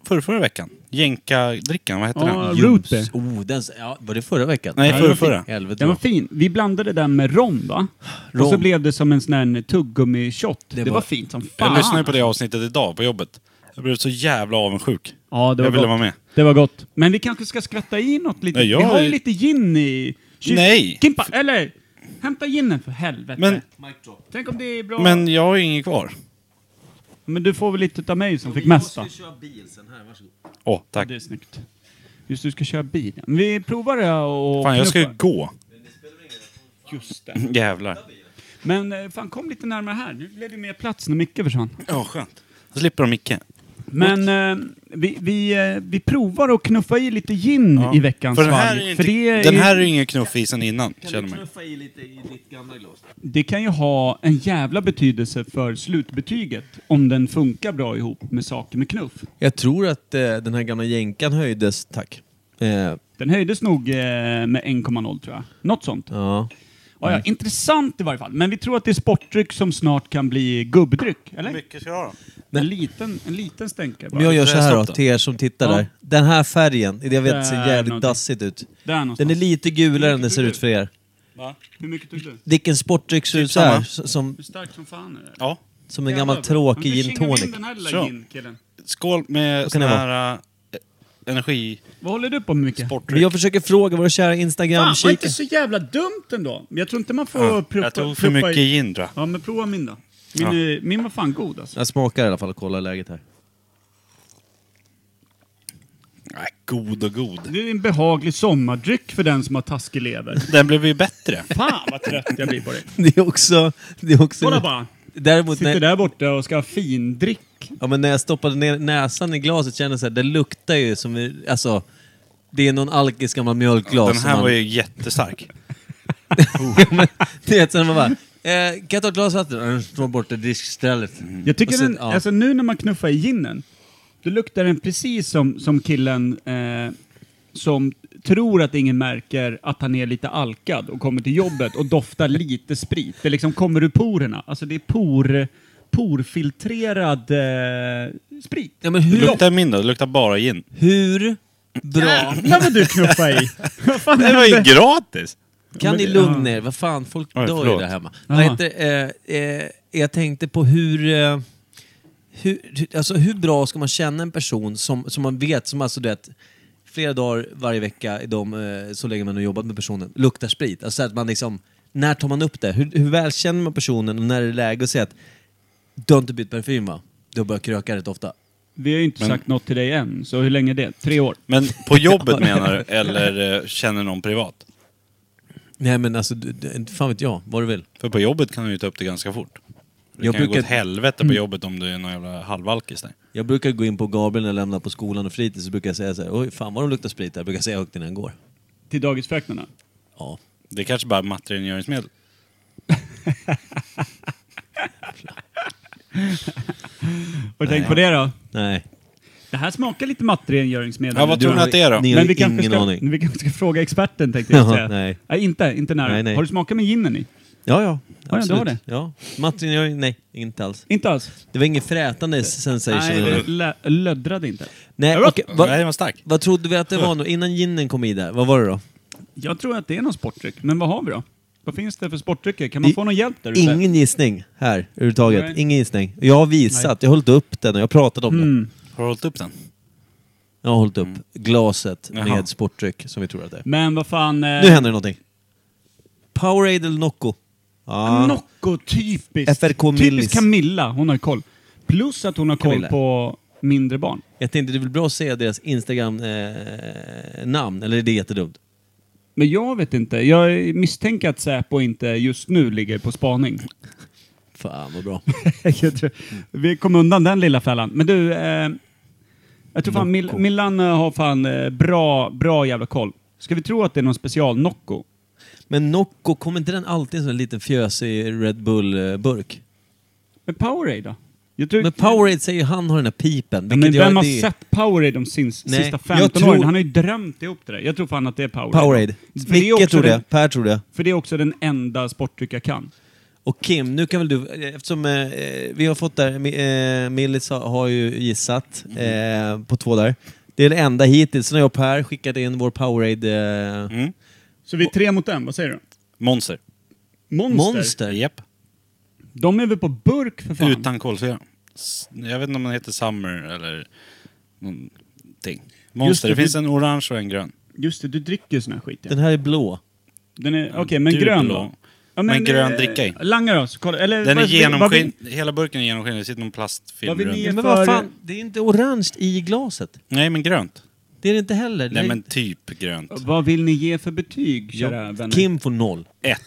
Speaker 3: förra, förra veckan? Jänka-drickan, vad hette
Speaker 2: Ja,
Speaker 3: den?
Speaker 2: Root Beer.
Speaker 1: Juice. Oh, den, s- ja, var det förra veckan?
Speaker 3: Nej,
Speaker 1: det
Speaker 3: förra,
Speaker 1: var fin-
Speaker 3: förra.
Speaker 1: Helvete.
Speaker 2: Den var fin. Vi blandade den med rom va? Och så
Speaker 1: Rom.
Speaker 2: blev det som en sån här tuggummi-shot. Det,
Speaker 1: var-
Speaker 2: var fint som fan.
Speaker 3: Jag lyssnade ju på det avsnittet idag på jobbet. Jag blev så jävla avundsjuk.
Speaker 2: Ja, det var
Speaker 3: jag ville
Speaker 2: gott.
Speaker 3: vara med.
Speaker 2: Det var gott. Men vi kanske ska skvätta i något lite.
Speaker 3: Nej, jag-
Speaker 2: Vi har ju lite gin i... kyl-
Speaker 3: Nej.
Speaker 2: Kimpa, eller! Hämta ginen för helvete.
Speaker 3: Men-
Speaker 2: Tänk om det är bra...
Speaker 3: Men
Speaker 2: Men,
Speaker 3: jag har ju inget kvar.
Speaker 2: du får väl lite av mig som fick mest va?
Speaker 1: köra bil sen här, varsågod.
Speaker 3: Åh, tack.
Speaker 2: Det är snyggt. Just du ska köra bil. Men vi provar det och...
Speaker 3: Fan, jag ska ju
Speaker 2: knuffa.
Speaker 3: gå.
Speaker 2: Just det.
Speaker 3: [laughs] Jävlar.
Speaker 2: Men eh, fan, kom lite närmare här. Nu blev det mer plats när Micke försvann.
Speaker 3: Ja, skönt. Då slipper de Micke.
Speaker 2: Men eh, vi, vi, eh, vi provar att knuffa i lite gin i veckans
Speaker 3: För den här är
Speaker 2: valg.
Speaker 3: ju
Speaker 2: För
Speaker 3: inte,
Speaker 2: det, är,
Speaker 3: den här är ju ingen knuff i sen innan, känner man ju.
Speaker 1: i lite i ditt gamla glas?
Speaker 2: det kan ju ha en jävla betydelse för slutbetyget om den funkar bra ihop med saker med knuff.
Speaker 1: Jag tror att eh, den här gamla jänkan höjdes, tack. Eh,
Speaker 2: Den höjdes nog eh, med 1,0 tror jag. Något sånt.
Speaker 1: ja.
Speaker 2: Ja,
Speaker 3: Mm.
Speaker 2: ja, intressant i varje fall. Men vi tror att det är sportdryck som snart kan bli gubbdryck, eller?
Speaker 3: mycket ska jag ha
Speaker 2: En liten, en liten stänkare
Speaker 1: Om jag
Speaker 2: bara.
Speaker 1: gör så här då,
Speaker 3: Stopp då.
Speaker 1: till er som tittar
Speaker 2: Ja.
Speaker 1: där. Den här färgen, jag vet, ser
Speaker 2: Där
Speaker 1: jävligt
Speaker 2: någonting.
Speaker 1: dassigt ut.
Speaker 2: Där någonstans.
Speaker 1: Den är lite gulare än den ser ut för er.
Speaker 2: Hur mycket tog du?
Speaker 1: Vilken sportdryck ser
Speaker 2: Typ
Speaker 1: ut så här? s- Som,
Speaker 2: Hur stark som fan är det?
Speaker 3: Ja.
Speaker 1: som en gammal tråkig gin tonic.
Speaker 3: Så. Skål med
Speaker 1: Vad kan
Speaker 3: sån
Speaker 1: det
Speaker 3: här eh, energi...
Speaker 2: Vad håller du på med mycket?
Speaker 1: Men
Speaker 3: Sportdryck.
Speaker 1: jag försöker fråga våra kära
Speaker 2: Fan, var inte
Speaker 1: Instagram-kikare.
Speaker 2: så jävla dumt ändå. Jag tror inte man får
Speaker 3: Ja,
Speaker 2: pruppa,
Speaker 3: jag tog för
Speaker 2: pruppa
Speaker 3: mycket
Speaker 2: i.
Speaker 3: gin tror jag.
Speaker 2: Ja, men prova min då. Min, är- min var fan god alltså.
Speaker 1: Jag smakar i alla fall och kollar läget här.
Speaker 3: Nej, god och god.
Speaker 2: Det är en behaglig sommardryck för den som har taskig lever.
Speaker 3: Den blev ju bättre.
Speaker 2: Fan vad trött jag blir på det.
Speaker 1: [laughs] Det är också... Det är också
Speaker 2: Kolla bara.
Speaker 1: Däremot
Speaker 2: Sitter
Speaker 1: när,
Speaker 2: där borta och ska ha findrick.
Speaker 1: ja, men när jag stoppade ner näsan i glaset kände jag att det luktar ju som... i- Alltså, det är någon alkis gammal mjölkglas.
Speaker 3: Den
Speaker 1: som
Speaker 3: här
Speaker 1: man-
Speaker 3: var ju jättestark.
Speaker 1: [laughs] Du vet, sen man bara... Eh, kan jag ta ett glas vatten? Ja, Den står borta i diskstället.
Speaker 2: Jag tycker
Speaker 1: Och sen-
Speaker 2: den,
Speaker 1: ja.
Speaker 2: alltså nu när man knuffar i ginen, då luktar den precis som, som killen eh, som tror att ingen märker att han är lite alkad och kommer till jobbet och
Speaker 3: [laughs]
Speaker 2: doftar lite sprit. Det liksom kommer ur porerna. Alltså det är por, porfiltrerad eh, sprit.
Speaker 1: Ja, men
Speaker 3: Det
Speaker 1: hur,
Speaker 3: luktar min då, det luktar bara gin.
Speaker 1: hur bra
Speaker 2: Jävlar vad du knuffar
Speaker 3: [laughs]
Speaker 2: i! Vad fan
Speaker 3: Det var
Speaker 2: hände?
Speaker 3: ju gratis!
Speaker 1: kan
Speaker 2: men
Speaker 1: ni
Speaker 2: det-
Speaker 1: lugna er? Vad fan, folk
Speaker 3: Oj,
Speaker 1: dör ju
Speaker 3: förlåt.
Speaker 1: där hemma.
Speaker 2: Jaha.
Speaker 1: Vad heter, eh, eh, jag tänkte på hur... Eh, hur, hur- alltså hur bra ska man känna en person som, som man vet, som alltså du vet, flera dagar varje vecka, i de, eh, så länge man har jobbat med personen, luktar sprit? Alltså att man liksom, när tar man upp det? Hur, hur väl känner man personen och när är det läge att säga att du har inte bytt parfym va? Du har börjat kröka rätt ofta.
Speaker 2: Vi har ju inte sagt något till dig än, så hur länge är det? Tre år?
Speaker 3: Men
Speaker 1: [laughs]
Speaker 3: på jobbet menar du, eller eh, känner någon privat?
Speaker 1: Nej men alltså, du, du, fan vet jag, vad du vill.
Speaker 3: För på jobbet kan du ju ta upp det ganska fort. Det
Speaker 1: Jag
Speaker 3: kan ju gå
Speaker 1: brukar- Mm.
Speaker 3: åt helvete på jobbet om du är någon jävla halvalkis där.
Speaker 1: Jag brukar gå in på Gabriel när jag lämnar på skolan och fritids så brukar jag säga så här, oj fan vad de luktar sprit där, brukar jag säga högt innan jag går.
Speaker 2: Till dagisfröknarna?
Speaker 1: Ja.
Speaker 3: Det är kanske bara är mattrengöringsmedel.
Speaker 2: Har du tänkt på det då?
Speaker 1: Nej.
Speaker 2: Det här smakar lite mattrengöringsmedel.
Speaker 3: Ja, vad
Speaker 2: Du
Speaker 3: tror ni
Speaker 2: har-
Speaker 3: att det är då?
Speaker 1: Ni har
Speaker 2: Men vi
Speaker 1: ingen
Speaker 2: kanske, ska,
Speaker 1: aning.
Speaker 2: vi kanske ska fråga experten tänkte jag
Speaker 1: Jaha, [laughs]
Speaker 2: säga.
Speaker 1: nej.
Speaker 2: nej inte, inte nära.
Speaker 1: Nej, nej.
Speaker 2: Har du smakat med ginen i?
Speaker 1: Ja, ja.
Speaker 2: det
Speaker 1: Absolut.
Speaker 2: var det.
Speaker 1: Ja. Martin, jag, nej, inte alls.
Speaker 2: Inte alls?
Speaker 1: Det var ingen frätande sensation.
Speaker 2: Nej,
Speaker 1: eller?
Speaker 2: det lö- löddrade inte.
Speaker 1: nej
Speaker 2: Ja,
Speaker 1: okej,
Speaker 3: Va? Mm. Nej,
Speaker 1: vad,
Speaker 3: den var stark.
Speaker 1: vad trodde vi att det var nu? Innan ginen kom i där, vad var det då?
Speaker 2: Jag tror att det är någon sportdryck, men vad har vi då? Vad finns det för sportdrycker? Kan man
Speaker 1: I-
Speaker 2: få någon hjälp där ute?
Speaker 1: Ingen gissning här överhuvudtaget.
Speaker 2: Nej.
Speaker 1: Ingen gissning. Jag har visat, jag har hållit upp den och jag har pratat om den.
Speaker 2: Mm.
Speaker 3: Har du hållit upp den?
Speaker 1: Jag har hållit upp glaset
Speaker 3: Mm. Jaha.
Speaker 1: med sportdryck som vi tror att det är.
Speaker 2: Men vad fan... Eh,
Speaker 1: Nu händer det någonting. Powerade eller Nocco? Ja.
Speaker 2: Nocco, typiskt!
Speaker 1: FRK Millis.
Speaker 2: typiskt Camilla, hon har ju koll. Plus att hon har koll
Speaker 1: Camilla.
Speaker 2: på mindre barn.
Speaker 1: Jag tänkte det är väl bra att säga deras Instagram-namn, eller är det jättedumt?
Speaker 2: Men jag vet inte, jag misstänker att Säpo inte just nu ligger på spaning.
Speaker 1: Fan vad [laughs] bra.
Speaker 2: [laughs] Jag tror- Vi kom undan den lilla fällan. Men du, eh, jag tror fan Mil- Milan eh, har fan eh, bra, bra jävla koll. Ska vi tro att det är någon special Nocco?
Speaker 1: Men Nocco, kommer inte den alltid i en sån här liten fjösig Red Bull-burk?
Speaker 2: Men Powerade då? Jag tror,
Speaker 1: Men Powerade säger ju han har den här pipen.
Speaker 2: Ja, men
Speaker 1: vilket jag-
Speaker 2: vem har
Speaker 1: det är-
Speaker 2: sett Powerade de sins,
Speaker 1: Nej,
Speaker 2: sista
Speaker 1: jag
Speaker 2: 15
Speaker 1: tror-
Speaker 2: åren? Han har ju drömt ihop det där. Jag tror fan att det är Powerade.
Speaker 1: Powerade.
Speaker 2: För det är
Speaker 1: Micke
Speaker 2: också
Speaker 1: tror det,
Speaker 2: den-
Speaker 1: Per tror det.
Speaker 2: För det är också den enda sportdryck jag kan.
Speaker 1: Och Kim, nu kan väl du, eftersom eh, eh, vi har fått där, mi- eh, Millis har, har ju gissat eh, på två där. Det är det enda hittills. Sen har jag och Per skickat in vår Powerade eh,
Speaker 3: Mm.
Speaker 2: Så vi är tre mot en, vad säger du?
Speaker 3: Monster.
Speaker 2: Monster?
Speaker 1: Monster.
Speaker 3: Japp.
Speaker 2: De är väl på burk för fan?
Speaker 3: Utan kolsyra. S- Jag vet inte om den heter Summer eller någonting.
Speaker 2: Just
Speaker 3: Monster.
Speaker 2: det,
Speaker 3: Det,
Speaker 2: du-
Speaker 3: finns en orange och en grön.
Speaker 2: Just det, du dricker ju sån här skit ja.
Speaker 1: Den här är blå.
Speaker 2: Den är, okej, men
Speaker 3: Du
Speaker 2: grön
Speaker 3: Mm. blå.
Speaker 2: då?
Speaker 3: Men grön dricka i.
Speaker 2: Langar oss, kolla. Eller,
Speaker 3: Den är
Speaker 2: vad- vad vill-
Speaker 3: genomskinlig. Hela burken är genomskinlig. Det sitter någon plastfilm
Speaker 2: Vad vill
Speaker 3: runt.
Speaker 2: ni-
Speaker 1: Ja, men
Speaker 2: för-
Speaker 1: vad fan, det är inte orange i glaset.
Speaker 3: Nej, men grönt.
Speaker 1: Det är det inte heller. Det
Speaker 3: Nej,
Speaker 1: är-
Speaker 3: men typ grönt.
Speaker 2: Vad vill ni ge för betyg, kära vänner?
Speaker 1: Kim får noll.
Speaker 2: [laughs]
Speaker 3: Ett.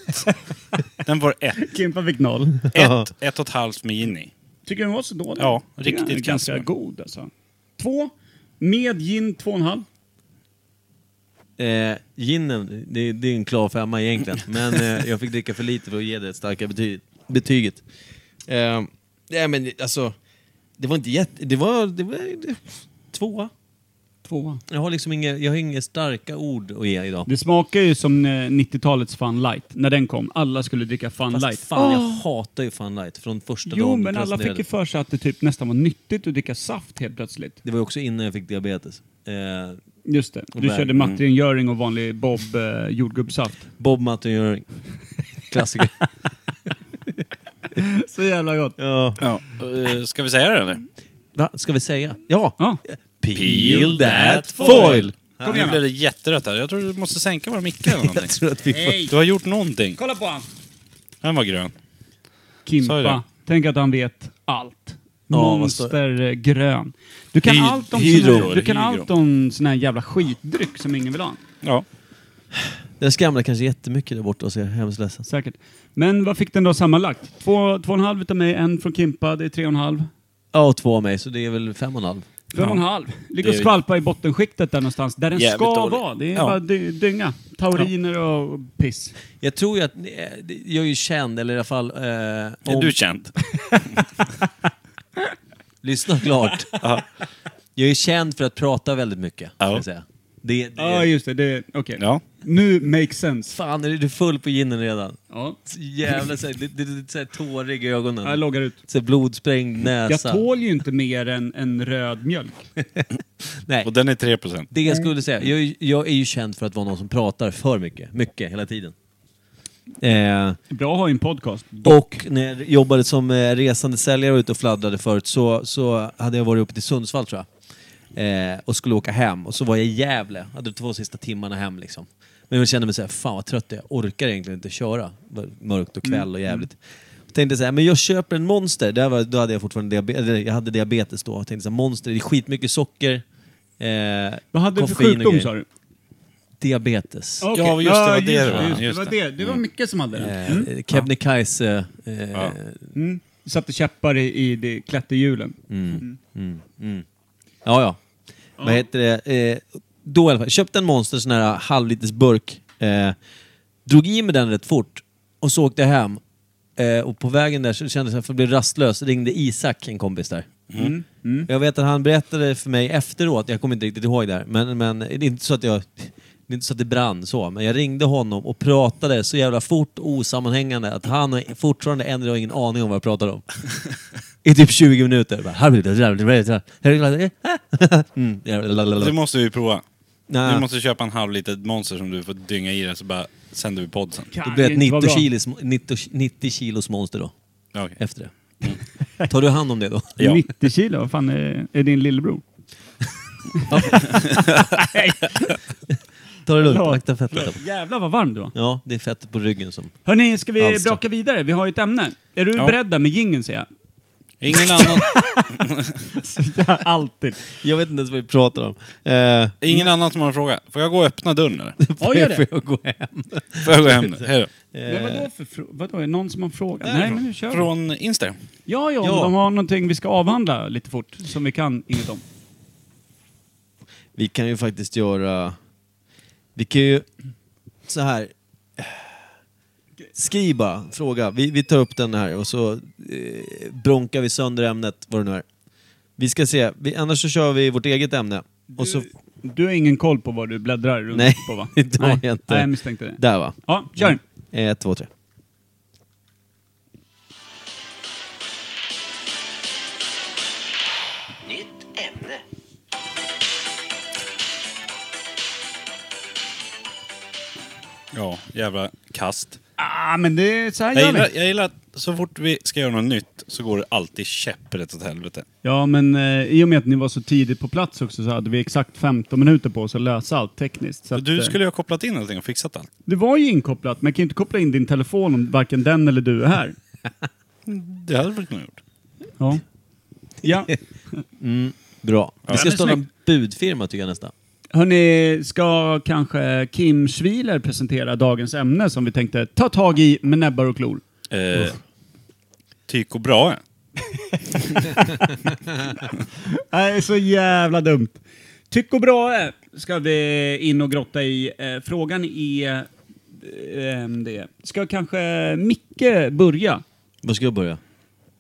Speaker 3: Den var ett.
Speaker 2: Kimpa fick noll.
Speaker 3: Ett, ett och ett halvt med gin i.
Speaker 2: Tycker den var så dålig?
Speaker 3: Ja,
Speaker 2: Jag tycker den
Speaker 3: riktigt
Speaker 2: är ganska
Speaker 3: kass.
Speaker 2: god alltså. Två. Med gin, två och en halv.
Speaker 1: Eh, ginen, det, det är en klar femma
Speaker 3: [laughs]
Speaker 1: egentligen. Men eh, jag fick dricka för lite för att ge det ett starka bety- betyget. Eh, nej men alltså, det var inte jätte... Det var... Det var det, tvåa.
Speaker 2: Tvåa.
Speaker 1: Jag har liksom inga, jag har inga starka ord att ge idag.
Speaker 2: Det smakar ju som eh, 90-talets Fun Light. När den kom. Alla skulle dricka Fun
Speaker 1: Fast
Speaker 2: Light.
Speaker 1: fan, jag
Speaker 2: Åh!
Speaker 1: hatar ju Fun Light från första
Speaker 2: Jo,
Speaker 1: dagen du
Speaker 2: men alla fick
Speaker 1: presenterade.
Speaker 2: ju för sig att det typ nästan var nyttigt att dricka saft helt plötsligt.
Speaker 1: Det var ju också innan jag fick diabetes. Eh,
Speaker 2: Just det. Du
Speaker 1: Verkligen.
Speaker 3: mm.
Speaker 2: körde matringöring och vanlig Bob eh, jordgubbssaft.
Speaker 1: Bob Mattenjöring. Klassiker.
Speaker 2: [laughs] Så jävla gott.
Speaker 1: ja.
Speaker 3: Ja. eh, Ska vi säga det eller?
Speaker 1: Va, ska vi säga? Ja!
Speaker 2: Ja.
Speaker 3: Peel that foil. Kom igen, nu blev det jätterött här. Jag tror du måste sänka våra mickar
Speaker 2: [laughs]
Speaker 3: eller
Speaker 1: [laughs] Jag
Speaker 3: någonting.
Speaker 1: tror att vi får...
Speaker 3: Du har gjort någonting.
Speaker 2: Kolla på han.
Speaker 3: Den var grön. Sa jag
Speaker 2: Kimpa.
Speaker 3: det?
Speaker 2: Tänk att han vet allt.
Speaker 1: Ja, vad står-
Speaker 2: Monstergrön. Du kan
Speaker 3: Hy-
Speaker 2: allt om
Speaker 3: hydro,
Speaker 2: sån här, du kan
Speaker 3: hydro.
Speaker 2: allt om sån här jävla skitdryck som ingen vill ha.
Speaker 3: Ja.
Speaker 1: Den skramlar kanske jättemycket där borta och ser hemskt ledsen.
Speaker 2: Säkert. Men vad fick den då sammanlagt? Två, två och en halv utav mig, en från Kimpa, det är tre och en halv.
Speaker 1: Ja, och två av mig, så det är väl fem och en halv.
Speaker 2: Fem och en halv. Ligger och
Speaker 3: Det är-
Speaker 2: skvalpar i bottenskiktet där någonstans, där den
Speaker 3: Jävligt
Speaker 2: ska
Speaker 3: dålig.
Speaker 2: vara. Det är
Speaker 3: Ja.
Speaker 2: bara dy- dynga. Tauriner och piss.
Speaker 1: Jag tror ju att... eh, Jag är ju känd, eller i alla fall... Eh,
Speaker 3: Är
Speaker 1: om-
Speaker 3: du känd?
Speaker 1: Lyssna
Speaker 3: [laughs]
Speaker 1: klart. jag är känd för att prata väldigt mycket, ska
Speaker 3: Ja.
Speaker 1: jag säga. Det, det,
Speaker 2: Ja, just det. det Okej.
Speaker 3: Ja.
Speaker 2: Nu makes sense.
Speaker 1: Fan, är du full på ginen redan?
Speaker 2: Ja.
Speaker 1: Så Jävla så här, det, det, det, så här tårig i
Speaker 2: Jag
Speaker 1: ögonen.
Speaker 2: loggar ut.
Speaker 1: Så här blodsprängd
Speaker 2: Jag
Speaker 1: näsa.
Speaker 2: tål ju inte mer än en röd mjölk.
Speaker 1: Nej,
Speaker 3: Och den är 3 procent.
Speaker 1: det jag skulle säga. Jag, är ju- jag är ju känd för att vara någon som pratar för mycket. Mycket, hela tiden. Eh,
Speaker 2: Bra att ha i en podcast.
Speaker 1: Och när jag jobbade som eh, resande säljare och ute och fladdrade förut så, så hade jag varit uppe till Sundsvall tror jag. Eh, och skulle åka hem och så var jag i Gävle. Hade de två sista timmarna hem liksom. Men jag kände mig såhär, fan vad trött jag är. Jag orkar egentligen inte köra. Det var mörkt och kväll och jävligt. Jag tänkte såhär, men jag köper en Monster. Det här var, då hade jag fortfarande diabetes, eller jag hade diabetes då. Jag tänkte såhär, Monster, det är skitmycket socker. Eh,
Speaker 2: Vad hade du för
Speaker 1: koffein och
Speaker 2: sjukdom
Speaker 1: grejer.
Speaker 2: sa du?
Speaker 1: Diabetes.
Speaker 2: Okej.
Speaker 3: Ja, just det, vad det
Speaker 2: just
Speaker 3: var.
Speaker 2: just
Speaker 3: Just
Speaker 2: det. var
Speaker 3: det.
Speaker 2: det. Det var mycket som hade det. Mm.
Speaker 1: Eh, Kebnekaise. Eh,
Speaker 2: Mm. Satte käppar i, i det- klätterhjulen.
Speaker 3: Mm.
Speaker 1: Mm, Ja, ja. Vad heter det? Eh, då i alla fall. Köpte en Monster sån här halvliters burk. Eh, drog i mig den rätt fort. Och så åkte jag hem. Eh, och på vägen där så kände jag att jag blev rastlös. Ringde Isak, en kompis där. Jag vet att han berättade för mig efteråt, jag kommer inte riktigt ihåg det här, men, men det är inte så att jag Det är inte så att det brann så, men jag ringde honom och pratade så jävla fort och osammanhängande att han har fortfarande än idag ingen aning om vad jag pratade [laughs] om. I typ 20 minuter. Bara, "Här blir det, där blir det, där blir det." [laughs] Mm, ja, lalalala.
Speaker 3: Det måste vi prova.
Speaker 1: Nej.
Speaker 3: Du måste köpa en halv litet monster som du får dynga i dig så bara sänder vi podd sen.
Speaker 1: Det blir ett
Speaker 2: inte
Speaker 1: 90
Speaker 2: vara bra.
Speaker 1: kilos, 90, 90 kilos monster då,
Speaker 3: Ja, okej.
Speaker 1: efter det. Tar du hand om det då? [laughs]
Speaker 3: Ja.
Speaker 2: 90 kilo? Vad fan är, är din lillebror?
Speaker 1: Ta det lugnt,
Speaker 2: Förlåt.
Speaker 1: akta fettet.
Speaker 2: Jävlar vad varm du var.
Speaker 1: Ja, det är fettet på ryggen som...
Speaker 2: Hörni, ska vi
Speaker 1: Alltså.
Speaker 2: braka vidare? Vi har ju ett ämne. Är du
Speaker 3: Ja.
Speaker 2: beredda med jingeln
Speaker 3: [laughs]
Speaker 2: säger jag?
Speaker 3: Ingen annan, [laughs]
Speaker 2: Alltid.
Speaker 1: Jag vet inte ens vad vi pratar om. Eh,
Speaker 3: ingen annan som har en fråga. Får jag gå och öppna
Speaker 2: [laughs]
Speaker 3: dörren eller?
Speaker 2: Ja, gör
Speaker 1: [laughs] får
Speaker 2: det.
Speaker 1: jag gå hem?
Speaker 3: Får jag gå hem nu? Hej då.
Speaker 2: Men vadå för frå- Vadå, är det någon som har en fråga? Nej, men nu kör vi.
Speaker 3: Eh. Från Insta.
Speaker 2: Ja, ja, om
Speaker 1: Ja.
Speaker 2: de har någonting vi ska avhandla lite fort, som vi kan inget om.
Speaker 1: Vi kan ju faktiskt göra... Vi kan ju... Så här. Skriv bara, fråga. Vi, vi tar upp den här och så eh, bronkar vi sönder ämnet, vad det nu är. Vi ska se, vi, annars så kör vi vårt eget ämne. Och så,
Speaker 2: Du har ingen koll på vad du bläddrar runt
Speaker 1: Nej,
Speaker 2: på
Speaker 3: [laughs]
Speaker 2: va?
Speaker 1: [laughs] det har
Speaker 2: Nej,
Speaker 1: jag inte.
Speaker 2: Nej, jag misstänkte det.
Speaker 1: där va. Mm.
Speaker 2: Ja, kör!
Speaker 3: Mm.
Speaker 1: Ett, två, tre.
Speaker 6: Nytt ämne.
Speaker 3: Ja, jävla kast.
Speaker 2: Ah, men det är så här
Speaker 3: Jag
Speaker 2: gör
Speaker 3: gillar,
Speaker 2: vi.
Speaker 3: jag gillar att så fort vi ska göra något nytt så går det alltid käpprätt åt helvete.
Speaker 2: Ja, men eh, i och med att ni var så tidigt på plats också så hade vi exakt 15 minuter på oss att lösa allt tekniskt. Så att,
Speaker 3: Du
Speaker 2: eh,
Speaker 3: skulle ju ha kopplat in allting och fixat allt.
Speaker 2: Det var ju inkopplat, men jag kan ju inte koppla in din telefon om varken den eller du är här.
Speaker 3: Det hade du kunnat gjort.
Speaker 2: Ja. Ja,
Speaker 1: Bra. Vi
Speaker 2: Ja,
Speaker 1: ska
Speaker 2: men
Speaker 1: starta en
Speaker 2: snyggt.
Speaker 1: budfirma tycker jag nästa.
Speaker 2: hörni, ska kanske Kim Schwiler presentera dagens ämne som vi tänkte ta tag i med näbbar och klor?
Speaker 3: Eh, Tycho Brahe.
Speaker 2: Nej, så jävla dumt. Tycho Brahe eh, ska vi in och grotta i. Eh, frågan är... Eh, det. Ska kanske Micke börja
Speaker 1: Var ska jag börja?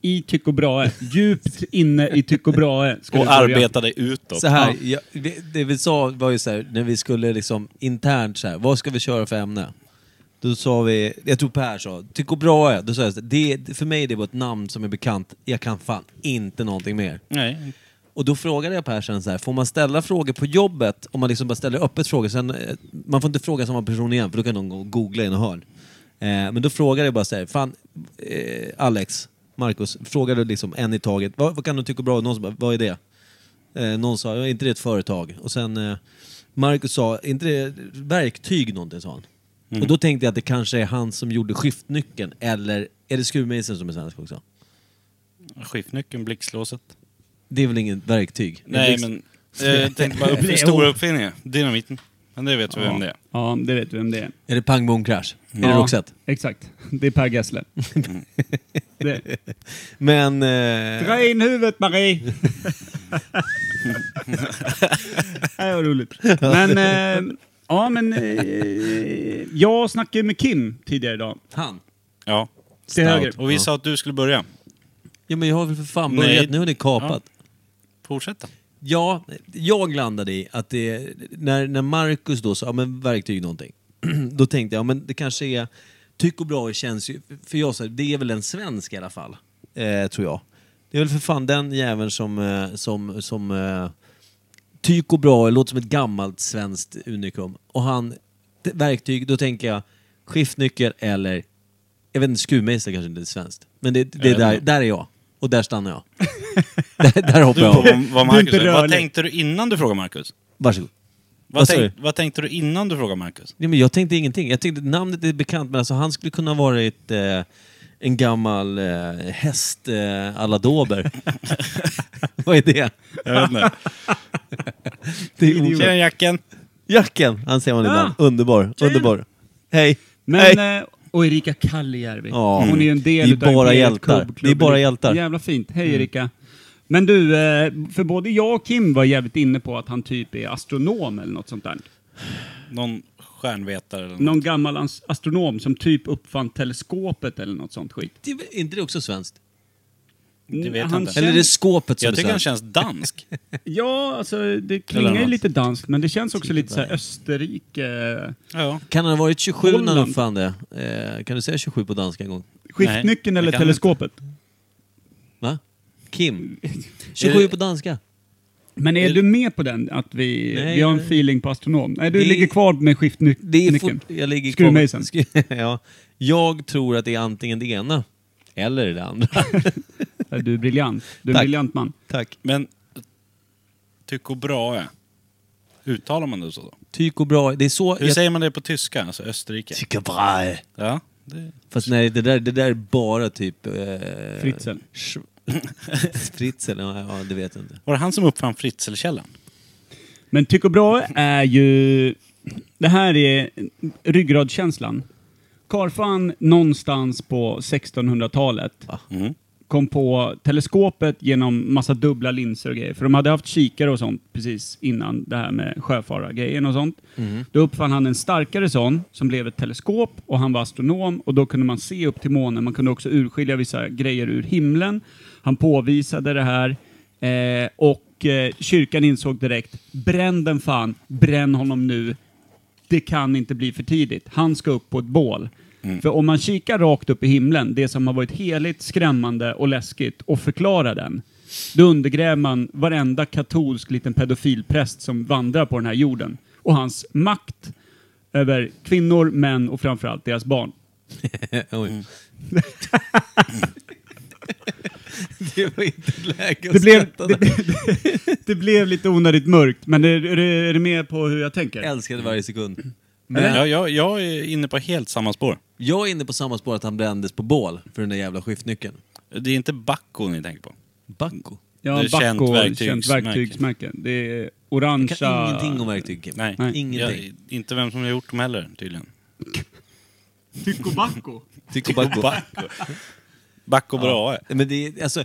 Speaker 2: i Tycho Brahe? eh? Djupt inne i Tycho Brahe. eh, Ska
Speaker 3: Och
Speaker 2: du börja.
Speaker 3: arbeta dig utåt.
Speaker 1: Så här,
Speaker 2: Ja.
Speaker 1: jag, vi- det vi sa var ju så här, när vi skulle liksom internt så här, vad ska vi köra för ämne? Då sa vi, jag tror Per sa, Tycho Brahe. Då sa jag, så här, det, för mig är det bara ett namn som är bekant, jag kan fan inte någonting mer.
Speaker 3: Nej.
Speaker 1: Och då frågade jag Per sen så här, får man ställa frågor på jobbet om man liksom bara ställer öppet frågor? Sen, eh, man får inte fråga samma person igen för då kan någon gå och googla i en hörn. Eh, men då frågade jag bara så här, fan eh, Alex, Marcus, frågade liksom en i taget, vad, vad kan du tycka är bra? Någon sa, bara, vad är det? Eh, någon sa, är inte det ett företag? Och sen eh, Marcus sa, är inte det verktyg någonting? Sa han.
Speaker 3: Mm.
Speaker 1: Och då tänkte jag att det kanske är han som gjorde skiftnyckeln eller är det skruvmejseln som är svensk också?
Speaker 3: Skiftnyckeln, blixtlåset.
Speaker 1: Det är väl inget verktyg?
Speaker 3: Nej,
Speaker 1: Blixt-
Speaker 3: men... eh, Jag tänkte bara upp
Speaker 2: Det är
Speaker 3: stora
Speaker 2: o-
Speaker 3: uppfinningar. Dynamiten. Men det vet vi vem det är.
Speaker 2: Ja, det vet du vem det är.
Speaker 1: Är det pang bom crash? Är det
Speaker 2: ja,
Speaker 1: Roxette?
Speaker 2: Exakt. Det är Per Gessle.
Speaker 3: Mm.
Speaker 2: det.
Speaker 1: Men... Eh,
Speaker 2: Dra in huvudet Marie!
Speaker 1: [laughs]
Speaker 2: Nej, vad roligt. Men, eh, ja men, eh, jag snackade ju med Kim tidigare idag.
Speaker 1: han?
Speaker 3: Ja.
Speaker 2: Till höger.
Speaker 3: Och vi sa att du skulle börja.
Speaker 1: Ja men jag har väl för fan
Speaker 3: Nej.
Speaker 1: börjat, nu har ni kapat.
Speaker 3: Fortsätta.
Speaker 1: Ja. jag landade i att det... När, när Marcus då sa, ja men verktyg någonting. [clears throat] då tänkte jag, ja men det kanske är... Tycho Brahe känns ju... För jag sa, det är väl en svensk i alla fall. Eh, tror jag. Det är väl för fan den jäveln som... Eh, som, som eh, Tycho Brahe låter som ett gammalt svenskt unikum. Och han... det- Verktyg, då tänker jag skiftnyckel eller... Jag vet inte, skruvmejsel kanske inte är svenskt. Men det, det är
Speaker 3: Eller-
Speaker 1: där, där är jag. Och där stannar jag. [laughs] där, där hoppar
Speaker 3: Du,
Speaker 1: jag av.
Speaker 3: vad,
Speaker 1: [laughs]
Speaker 3: vad, Marcus,
Speaker 2: inte
Speaker 3: är. vad
Speaker 2: rörlig.
Speaker 3: tänkte du innan du frågade Marcus?
Speaker 1: Varsågod.
Speaker 3: Vad,
Speaker 1: Vad sa
Speaker 3: tänk, vad tänkte du innan du frågade Marcus?
Speaker 1: Nej, men jag tänkte ingenting. Jag tänkte namnet är bekant, men alltså, han skulle kunna ha varit eh, en gammal eh, häst eh, alla
Speaker 3: [laughs]
Speaker 1: dober. [laughs] Vad är det?
Speaker 3: Jag vet [laughs] inte.
Speaker 1: det är o-
Speaker 3: Tjena Jacken!
Speaker 1: Jacken, han ser
Speaker 3: Ah,
Speaker 1: man ibland.
Speaker 2: Ja.
Speaker 1: Underbar,
Speaker 2: Tjena.
Speaker 1: underbar. Hej.
Speaker 2: Men,
Speaker 1: Hej.
Speaker 2: eh, och Erika Kallijärvi.
Speaker 1: Ja.
Speaker 2: Hon är ju en del
Speaker 1: Det är
Speaker 2: utav
Speaker 1: bara
Speaker 2: Imperiet
Speaker 1: hjältar.
Speaker 2: Club-
Speaker 1: Det är bara
Speaker 2: klubben.
Speaker 1: hjältar. Mm.
Speaker 2: Jävla fint. Hej Erika. Men du, eh, för både jag och Kim var jävligt inne på att han typ är astronom eller något sånt där.
Speaker 3: Någon stjärnvetare eller något.
Speaker 2: Någon gammal as- astronom som typ uppfann teleskopet eller något sånt skit.
Speaker 1: Det är väl- är inte det också svenskt?
Speaker 3: Det vet jag
Speaker 2: han
Speaker 3: inte.
Speaker 2: känner-
Speaker 1: Eller är det skåpet som
Speaker 3: Jag tycker
Speaker 1: är
Speaker 3: han
Speaker 1: så här?
Speaker 3: känns dansk.
Speaker 2: Ja, alltså det
Speaker 3: Eller
Speaker 2: klingar ju
Speaker 3: något.
Speaker 2: lite danskt, men det känns också lite så
Speaker 1: Typ
Speaker 2: här Österrike...
Speaker 3: Ja.
Speaker 1: Kan han ha varit 27 när han
Speaker 2: Holland.
Speaker 1: uppfann det? Eh, kan du säga 27 på danska en gång?
Speaker 2: Skiftnyckeln
Speaker 3: det
Speaker 2: eller
Speaker 3: kan man
Speaker 2: teleskopet?
Speaker 1: Va?
Speaker 3: [laughs]
Speaker 1: Kim? 27 på danska?
Speaker 2: Men är du med på den? Att vi,
Speaker 1: Nej,
Speaker 2: vi har en
Speaker 1: jag-
Speaker 2: feeling på astronom? Nej, du
Speaker 1: Det är-
Speaker 2: ligger kvar med skiftnyckeln.
Speaker 1: Det är fort, jag ligger
Speaker 2: Skruv
Speaker 1: kvar-
Speaker 2: mig sen.
Speaker 1: Skru- [laughs] ja. Jag tror att det är antingen det ena eller det andra.
Speaker 2: [laughs] Du är briljant. Du är en
Speaker 1: Tack.
Speaker 2: briljant man.
Speaker 1: Tack.
Speaker 3: Men Tycho Brahe. Uttalar man det så? Då?
Speaker 1: Tycho Brahe. Det är så...
Speaker 3: Hur säger man det på tyska? Alltså Österrike?
Speaker 1: Tycho Brahe.
Speaker 3: Ja. Det...
Speaker 1: Fast nej, det där, det där är bara typ... Eh,
Speaker 2: Fritzl.
Speaker 1: [laughs] Sch- Fritzl, ja, ja, det vet jag inte. [laughs]
Speaker 3: Var det han som uppfann fritzelkällan?
Speaker 2: Men Tycho Brahe är ju... Det här är ryggradskänslan. Karfan någonstans på 1600-talet
Speaker 3: Mm.
Speaker 2: kom på teleskopet genom massa dubbla linser och grejer. För de hade haft kikare och sånt precis innan det här med sjöfarargrejen och sånt. Då uppfann han en starkare sån som blev ett teleskop och han var astronom och då kunde man se upp till månen. Man kunde också urskilja vissa grejer ur himlen. Han påvisade det här eh, och eh, kyrkan insåg direkt, bränn den fan, bränn honom nu. Det kan inte bli för tidigt. Han ska upp på ett bål.
Speaker 3: Mm.
Speaker 2: För om man kikar rakt upp i himlen, det som har varit heligt, skrämmande och läskigt, och förklarar den, då undergräver man varenda katolsk liten pedofilpräst som vandrar på den här jorden. Och hans makt över kvinnor, män och framförallt deras barn.
Speaker 1: Oj.
Speaker 2: Mm.
Speaker 1: [laughs] det var inte läge att
Speaker 2: Det blev,
Speaker 1: skratta
Speaker 2: det,
Speaker 1: där.
Speaker 2: det, det blev [laughs] lite onödigt mörkt, men är, är, du- är du med på hur jag tänker?
Speaker 1: Jag älskade varje sekund. Men
Speaker 3: Eh, Ja, jag, jag är inne på helt samma spår.
Speaker 1: jag är inne på samma spår att han brändes på bål för den där jävla skiftnyckeln.
Speaker 3: Det är inte Bacco ni tänker på.
Speaker 1: Bacco.
Speaker 2: Ja,
Speaker 3: Det är känt
Speaker 2: Bacco, känt
Speaker 3: verktygsmärke.
Speaker 2: verktygsmärke. Det är
Speaker 1: Jag kan
Speaker 2: orangea...
Speaker 1: ingenting om verktyg, Kim.
Speaker 3: Nej,
Speaker 2: Nej.
Speaker 1: Ingenting.
Speaker 3: Jag, inte vem som har gjort dem heller tydligen.
Speaker 2: Tycho Bacco?
Speaker 1: Tycho Bacco. [laughs]
Speaker 3: Bacco. Bacco eh. Brahe.
Speaker 1: Men det är, alltså,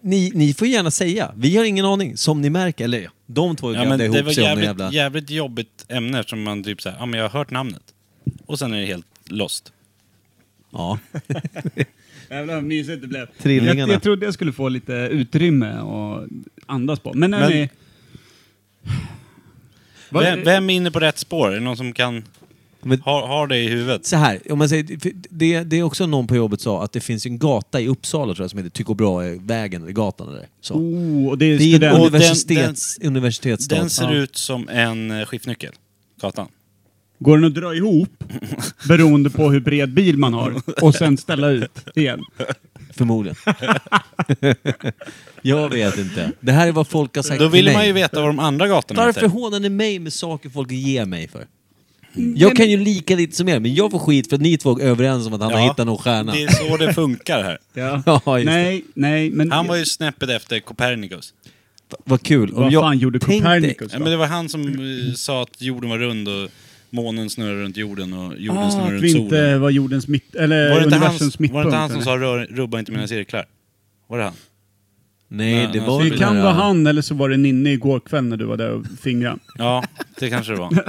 Speaker 1: ni, ni får gärna säga. Vi har ingen aning, som ni märker. Eller ja, de två
Speaker 3: Ja, men
Speaker 1: grävde
Speaker 3: det var
Speaker 1: ihop sig om
Speaker 3: jävligt,
Speaker 1: den jävla...
Speaker 3: jävligt jobbigt ämne som man typ såhär, ja men jag har hört namnet. Och sen är det helt lost.
Speaker 1: Ja. [laughs]
Speaker 2: Jävlar vad mysigt det blev.
Speaker 1: Trillingarna.
Speaker 2: Jag, jag trodde jag skulle få lite utrymme och andas på. Men, när
Speaker 3: Men-
Speaker 2: ni, Vad-
Speaker 3: Vem, vem är inne på rätt spår? Är det någon som kan
Speaker 1: Men-
Speaker 3: ha, ha det i huvudet?
Speaker 1: Så här, om man säger, för det, det är också någon på jobbet sa att det finns ju en gata i Uppsala tror jag som heter Tycho Brahe-vägen, eller gatan eller så.
Speaker 2: oh, och det är
Speaker 1: Det är en
Speaker 2: student...
Speaker 3: och den-
Speaker 1: universitets, universitetsstad.
Speaker 3: Den ser
Speaker 1: Ja.
Speaker 3: ut som en eh, skiftnyckel, gatan.
Speaker 2: Går den att dra ihop beroende på hur bred bil man har och sen ställa ut igen?
Speaker 3: [laughs]
Speaker 1: Förmodligen. [laughs] jag vet inte. Det här är vad folk har sagt
Speaker 3: Då
Speaker 1: till
Speaker 3: vill
Speaker 1: mig.
Speaker 3: man ju veta vad de andra gatorna
Speaker 1: Varför
Speaker 3: heter.
Speaker 1: hånar ni mig med saker folk ger mig för? Jag kan ju lika lite som er, men jag får skit för att ni två är överens om att han har hittat någon stjärna.
Speaker 3: Det är så det funkar
Speaker 1: [laughs]
Speaker 3: här. [laughs]
Speaker 2: Ja.
Speaker 1: Ja, just det.
Speaker 2: nej, nej, men...
Speaker 3: Han var ju snäppet efter Copernicus.
Speaker 1: Vad kul. Om
Speaker 2: Vad
Speaker 1: jag
Speaker 2: fan gjorde
Speaker 1: tänk dig-
Speaker 2: Copernicus
Speaker 3: Ja,
Speaker 2: då?
Speaker 3: men det var han som eh, sa att jorden var rund och månen snurrar runt jorden och jorden
Speaker 2: ah,
Speaker 3: snurrar
Speaker 2: att
Speaker 3: runt
Speaker 2: vi
Speaker 3: solen.
Speaker 2: inte var jordens mitt... Eller
Speaker 3: Var det inte han,
Speaker 2: universums
Speaker 3: var
Speaker 2: mittpunkt.
Speaker 3: det inte han
Speaker 2: eller?
Speaker 3: som
Speaker 2: Mm.
Speaker 3: sa "Rör- rubba inte mina cirklar? Var det han?
Speaker 1: Nej, det
Speaker 3: Nej,
Speaker 1: var
Speaker 3: alltså,
Speaker 1: väl
Speaker 2: det
Speaker 1: den
Speaker 2: kan
Speaker 1: här-
Speaker 2: vara han eller så var det Ninni igår kväll när du var där och fingrade.
Speaker 3: Ja, det kanske
Speaker 2: [laughs]
Speaker 3: det var.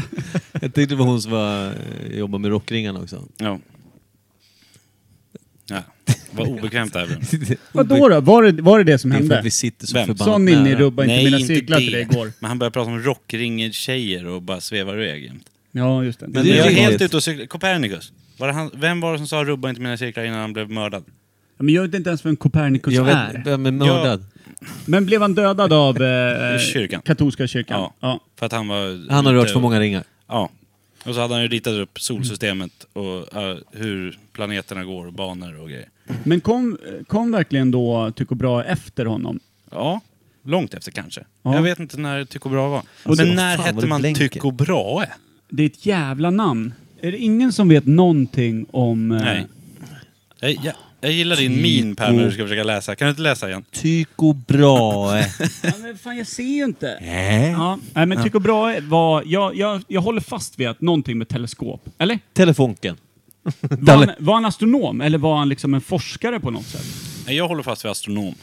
Speaker 1: Jag tyckte det var hon som var, jobbade med rockringarna också.
Speaker 3: Ja. ja. Vad obekvämt det här blev.
Speaker 2: Vadå då? Var det, var det det som
Speaker 1: Det är för att
Speaker 2: hände?
Speaker 1: vi sitter så
Speaker 3: Vem?
Speaker 1: förbannat
Speaker 2: Sa Ninni
Speaker 1: nära.
Speaker 2: rubba inte mina cirklar till dig igår?
Speaker 3: Men han började prata om rockringer-tjejer och bara svevar iväg jämt.
Speaker 2: Ja, just det.
Speaker 3: Men
Speaker 1: det är
Speaker 3: jag är
Speaker 1: ju
Speaker 3: helt
Speaker 1: vanligt.
Speaker 3: ute och cyklar. Copernicus. Var det han, vem var det som sa rubba inte mina cirklar innan han blev mördad?
Speaker 2: Ja, Men jag vet inte ens vem Copernicus
Speaker 1: Jag
Speaker 2: är.
Speaker 1: vet, vem är mördad?
Speaker 2: Men blev han dödad
Speaker 3: [laughs]
Speaker 2: av eh,
Speaker 3: Kyrkan.
Speaker 2: katolska kyrkan?
Speaker 3: Ja.
Speaker 2: ja.
Speaker 3: För att han var...
Speaker 1: Han har
Speaker 3: ute
Speaker 1: rört för
Speaker 3: och-
Speaker 1: många ringar.
Speaker 3: Ja. Och så hade han ju ritat upp solsystemet och eh, hur planeterna går och banor och grejer.
Speaker 2: Men kom, kom verkligen då Tycho Brahe efter honom?
Speaker 3: Ja, långt efter kanske.
Speaker 2: Ja.
Speaker 3: Jag vet inte när Tycho Brahe var.
Speaker 1: Alltså, vad
Speaker 3: Men när
Speaker 1: fan vad
Speaker 3: hette
Speaker 1: det
Speaker 3: man
Speaker 1: blänker.
Speaker 3: Tycho Brahe?
Speaker 2: Det är ett jävla namn. Är det ingen som vet någonting om... eh,
Speaker 3: Nej. Jag, jag, jag gillar din min Per när du ska försöka läsa. Kan du inte läsa igen?
Speaker 1: Tycho
Speaker 2: [laughs]
Speaker 1: Brahe.
Speaker 2: [laughs] Ja, men fan, jag ser ju inte.
Speaker 1: Nej.
Speaker 2: Ja, nej, men Tycho Brahe var... Jag, jag, jag håller fast vid att någonting med teleskop.
Speaker 3: [laughs]
Speaker 2: Eller?
Speaker 1: Telefonken.
Speaker 2: Var han, var han astronom eller var han liksom en forskare på något sätt?
Speaker 3: Nej, Jag håller fast vid astronom.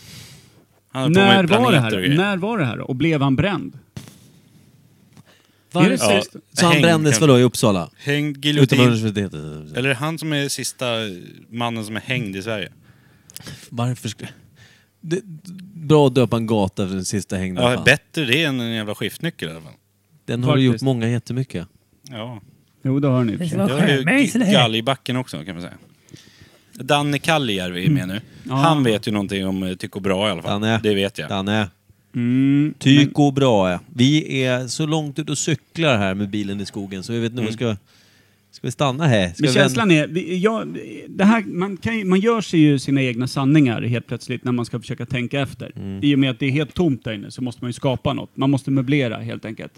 Speaker 3: Han höll på
Speaker 2: När
Speaker 3: med planeter
Speaker 2: var det
Speaker 3: och
Speaker 2: här?
Speaker 3: grejer.
Speaker 2: När var det här? Och blev han bränd?
Speaker 1: Varför?
Speaker 2: Är det
Speaker 1: så-
Speaker 3: Ja.
Speaker 1: Så han
Speaker 3: Häng,
Speaker 1: brändes
Speaker 3: kanske.
Speaker 1: vadå i Uppsala?
Speaker 3: Hängd
Speaker 1: Utom
Speaker 3: giljotin.
Speaker 1: universitetet?
Speaker 3: Eller han som är sista mannen som är hängd i Sverige.
Speaker 1: Varför skulle... det, bra att döpa en gata för den sista hängden.
Speaker 3: Ja,
Speaker 1: fan.
Speaker 3: bättre det än en jävla skiftnyckel i alla fall.
Speaker 1: den har du gjort
Speaker 2: Faktiskt.
Speaker 1: många jättemycket.
Speaker 3: Ja.
Speaker 2: Jo, det har ni. i och för sig.
Speaker 3: Jag har ju
Speaker 6: Skämmer,
Speaker 3: g- galgbacken också kan man säga. Danne Kallijärvi är med nu. Han vet ju någonting om eh, Tycho Brahe i alla fall.
Speaker 1: Danne.
Speaker 3: Det vet jag.
Speaker 1: Danne.
Speaker 2: Mm.
Speaker 1: Tyko Brahe. Vi är så långt ut och cyklar här med bilen i skogen så vi vet inte
Speaker 3: Mm.
Speaker 1: om vi ska... Ska vi stanna här? Ska
Speaker 2: Men
Speaker 1: vi vända-
Speaker 2: känslan är, vi- jag, det här, man, kan, ju- man gör sig ju sina egna sanningar helt plötsligt när man ska försöka tänka efter.
Speaker 3: Mm.
Speaker 2: I och med att det är helt tomt där inne så måste man ju skapa något. Man måste möblera helt enkelt.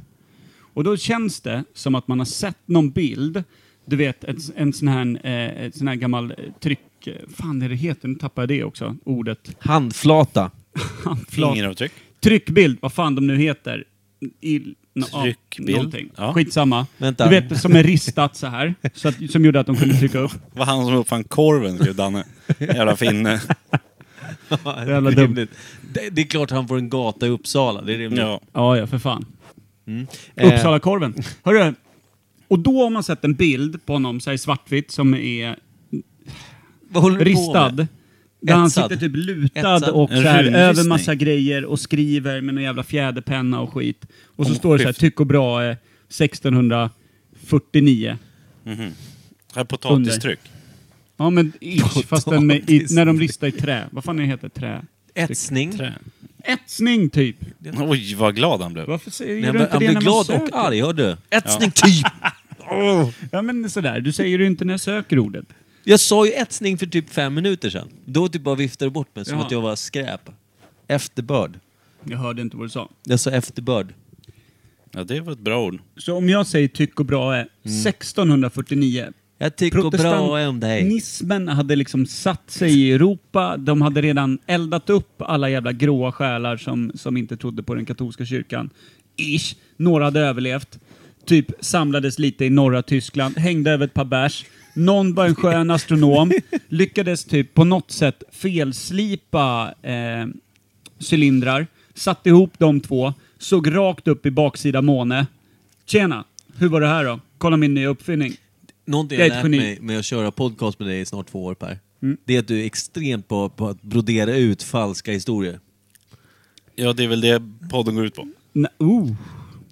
Speaker 2: Och då känns det som att man har sett någon bild, du vet en, en, sån, här, eh, en sån här gammal eh, tryck... eh, fan är det heter? Nu tappar jag det också, ordet. [laughs]
Speaker 3: [laughs]
Speaker 1: Handflata.
Speaker 2: Handflat.
Speaker 3: Fingeravtryck.
Speaker 2: Tryckbild, vad fan de nu heter. I, nå- ja,
Speaker 3: Tryckbild.
Speaker 2: någonting.
Speaker 3: Ja.
Speaker 2: Skitsamma.
Speaker 1: Vänta.
Speaker 2: Du vet, som är ristat så här, så att, som gjorde att de kunde trycka upp.
Speaker 3: Det var han som uppfann korven,
Speaker 1: [laughs]
Speaker 3: skrev Danne. Jävla finne.
Speaker 2: Jävla
Speaker 1: Det är
Speaker 2: dumt.
Speaker 1: rimligt. Det, det är klart han får en gata i Uppsala. Det är rimligt.
Speaker 3: Ja.
Speaker 2: Ja, ja, för fan.
Speaker 1: Eh,
Speaker 2: Uppsalakorven. Hörru, och då har man sett en bild på honom så här i svartvitt som är
Speaker 1: Vad håller du på med?
Speaker 2: ristad. Där han
Speaker 1: Etsad.
Speaker 2: sitter typ lutad
Speaker 1: Etsad.
Speaker 2: och
Speaker 3: En
Speaker 2: så här,
Speaker 3: runristning.
Speaker 2: över massa grejer och skriver med någon jävla fjäderpenna och skit. Och eh, så står det så här, Tycho Brahe 1649.
Speaker 3: Här potatistryck.
Speaker 2: Ja men
Speaker 1: [laughs]
Speaker 2: ish, fast den med, i, när de ristar i trä. Vad fan är det heter? Trä?
Speaker 1: Etsning.
Speaker 3: Trä.
Speaker 2: Etsning typ.
Speaker 3: Oj, vad glad han blev.
Speaker 2: Varför säger
Speaker 1: Nej,
Speaker 2: du
Speaker 1: men
Speaker 2: inte
Speaker 1: han
Speaker 2: det
Speaker 1: blir
Speaker 2: när man
Speaker 1: glad
Speaker 2: söker?
Speaker 1: och arg, hör du? Etsning typ!
Speaker 2: Ja men sådär, du säger ju inte när jag söker ordet.
Speaker 1: Jag sa ju etsning för typ fem minuter sedan. Då typ bara viftade du bort mig som
Speaker 2: Jaha.
Speaker 1: att jag var skräp. Efterbörd.
Speaker 2: Jag hörde inte vad du sa.
Speaker 1: Jag sa efterbörd.
Speaker 3: Ja, det var ett bra ord.
Speaker 2: Så om jag säger Tycho Brahe 1649.
Speaker 1: Jag tycker bra om dig.
Speaker 2: Protestantismen hade liksom satt sig i Europa. De hade redan eldat upp alla jävla gråa själar som, som inte trodde på den katolska kyrkan. Ish. Några hade överlevt. Typ samlades lite i norra Tyskland, hängde över ett par bärs. Någon var en skön astronom. Lyckades typ på något sätt felslipa eh, cylindrar, satte ihop de två, såg rakt upp i baksida måne. Tjena! Hur var det här då? Kolla min nya uppfinning.
Speaker 1: Någonting
Speaker 2: Jag
Speaker 1: jag
Speaker 2: är ett
Speaker 1: lärt
Speaker 2: geni. Mm.
Speaker 1: mig med att köra podcast med dig i snart två år Per. Det är att du är extremt bra på att brodera ut falska historier.
Speaker 3: Ja, det är väl det podden går ut på.
Speaker 2: Nä, oh.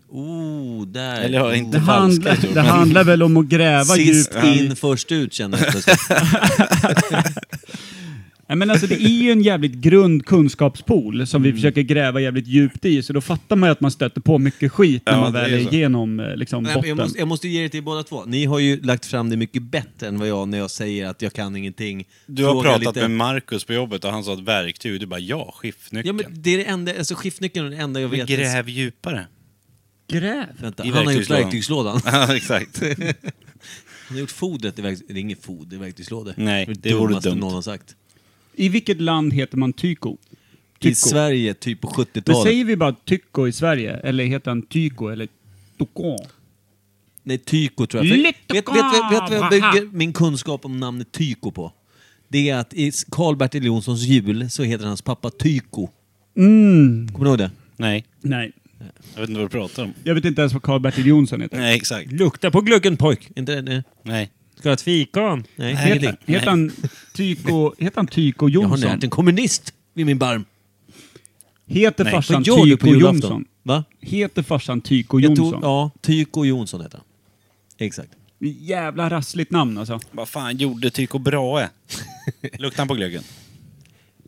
Speaker 1: Oh, där.
Speaker 3: Eller ja,
Speaker 1: Oh.
Speaker 3: inte
Speaker 2: Det, handlar,
Speaker 3: falska,
Speaker 2: det
Speaker 3: men-
Speaker 2: handlar väl om att gräva
Speaker 1: Sist
Speaker 2: djupt i...
Speaker 1: in, först ut känner jag
Speaker 2: [laughs]
Speaker 1: plötsligt.
Speaker 2: Nej, men alltså, det är ju en jävligt grund kunskapspool som vi
Speaker 1: Mm.
Speaker 2: försöker gräva jävligt djupt i, så då fattar man ju att man stöter på mycket skit när
Speaker 3: Ja,
Speaker 2: man
Speaker 3: det
Speaker 2: väl
Speaker 3: är
Speaker 2: är
Speaker 3: så.
Speaker 2: igenom eh, liksom,
Speaker 1: Nej, men
Speaker 2: botten.
Speaker 1: jag, måste, jag måste ge det till båda två. Ni har ju lagt fram det mycket bättre än vad jag när jag säger att jag kan ingenting.
Speaker 3: Du har
Speaker 1: Frågar
Speaker 3: pratat med Marcus på jobbet och han sa ett verktyg. Du bara, ja,
Speaker 1: Ja,
Speaker 3: skiftnyckeln.
Speaker 1: men det är det enda, alltså skiftnyckeln är det enda jag vet.
Speaker 3: Gräv djupare. [laughs]
Speaker 2: Gräv!
Speaker 1: Vänta,
Speaker 3: i
Speaker 1: han har gjort
Speaker 3: verktygslådan.
Speaker 1: verktygslådan.
Speaker 3: [laughs]
Speaker 1: [laughs]
Speaker 3: ja, exakt.
Speaker 1: Han har gjort fodret i verktygslådan. Det är inget foder i verktygslådor.
Speaker 3: Nej,
Speaker 1: det
Speaker 3: det vore
Speaker 1: dummaste
Speaker 3: dumt.
Speaker 1: någon har sagt.
Speaker 2: I vilket land heter man Tycho?
Speaker 1: I
Speaker 2: Tycho.
Speaker 1: Sverige, typ på
Speaker 2: Men
Speaker 1: 70-talet.
Speaker 2: säger vi bara Tycho i Sverige, eller heter han Tycho eller Tocon?
Speaker 1: Nej, Tyko tror jag. För-
Speaker 2: Lite
Speaker 1: Vet vet- vet- vet vad jag
Speaker 2: kava.
Speaker 1: bygger min kunskap om namnet Tyko på? Det är att i Karl-Bertil Jonssons jul så heter hans pappa Tyko.
Speaker 2: Mm.
Speaker 1: Kommer du ihåg det?
Speaker 3: Nej,
Speaker 2: Nej.
Speaker 3: jag vet inte vad du pratar om.
Speaker 2: Jag vet inte ens vad Karl-Bertil Jonsson heter.
Speaker 3: Nej, exakt.
Speaker 1: Lukta på glöggen pojk. Inte det? nej.
Speaker 3: Nej.
Speaker 1: Ska du ha ett fikon? Nej,
Speaker 2: Heter,
Speaker 1: ingenting.
Speaker 2: han- heter, han Tyko, heter han Tyko
Speaker 1: Jag har
Speaker 2: Jonsson?
Speaker 1: närt en kommunist vid min barm.
Speaker 2: heter
Speaker 3: Nej.
Speaker 2: farsan
Speaker 1: Vad gör du på
Speaker 2: Tyko
Speaker 1: julafton?
Speaker 2: Jonsson?
Speaker 1: Va?
Speaker 2: Heter farsan Tyko
Speaker 1: Jag
Speaker 2: Jonsson?
Speaker 1: tog, ja, Tyko Jonsson heter han. Exakt.
Speaker 2: Jävla rassligt namn alltså.
Speaker 3: Vad fan gjorde Tycho Brahe? Luktar han på glöggen?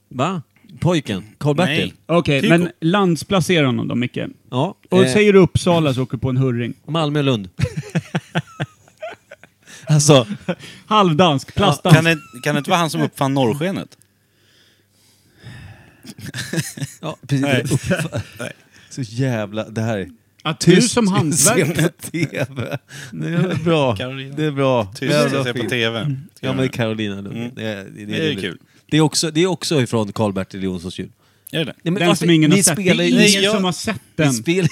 Speaker 1: Va? Pojken? Karl-Bertil?
Speaker 3: Nej.
Speaker 2: Okej,
Speaker 3: Tyko.
Speaker 2: men landsplacera honom då Micke.
Speaker 1: Ja.
Speaker 2: Och
Speaker 1: eh,
Speaker 2: säger du Uppsala så åker du på en hurring.
Speaker 1: Malmö och Lund. [laughs] alltså,
Speaker 2: Halvdansk, plastdansk.
Speaker 3: Kan det, kan det inte vara han som uppfann norrskenet?
Speaker 1: ja, precis.
Speaker 3: Nej.
Speaker 2: [laughs]
Speaker 1: Uppfa- Så jävla... Det här är...
Speaker 2: Att du
Speaker 1: [laughs]
Speaker 2: som hantverkare...
Speaker 1: på TV. Det är bra.
Speaker 3: Karolina.
Speaker 1: Det är bra.
Speaker 3: Tyst
Speaker 1: Jävla
Speaker 3: att se på
Speaker 1: fint.
Speaker 3: TV.
Speaker 1: Ja, men Carolina Lund. Det, är, det, är
Speaker 3: Mm. Det är
Speaker 1: roligt.
Speaker 3: kul.
Speaker 1: Det är också, det är också ifrån Karl-Bertil Jonssons jul.
Speaker 3: Är det
Speaker 1: Nej, men
Speaker 2: Den
Speaker 1: varför-
Speaker 2: som ingen
Speaker 1: ni
Speaker 2: har sett. Det
Speaker 1: spelar
Speaker 2: är
Speaker 1: ju-
Speaker 2: ingen
Speaker 1: ni
Speaker 3: Nej, jag-
Speaker 2: som har sett
Speaker 1: Vi
Speaker 2: den. [laughs]
Speaker 1: spelar...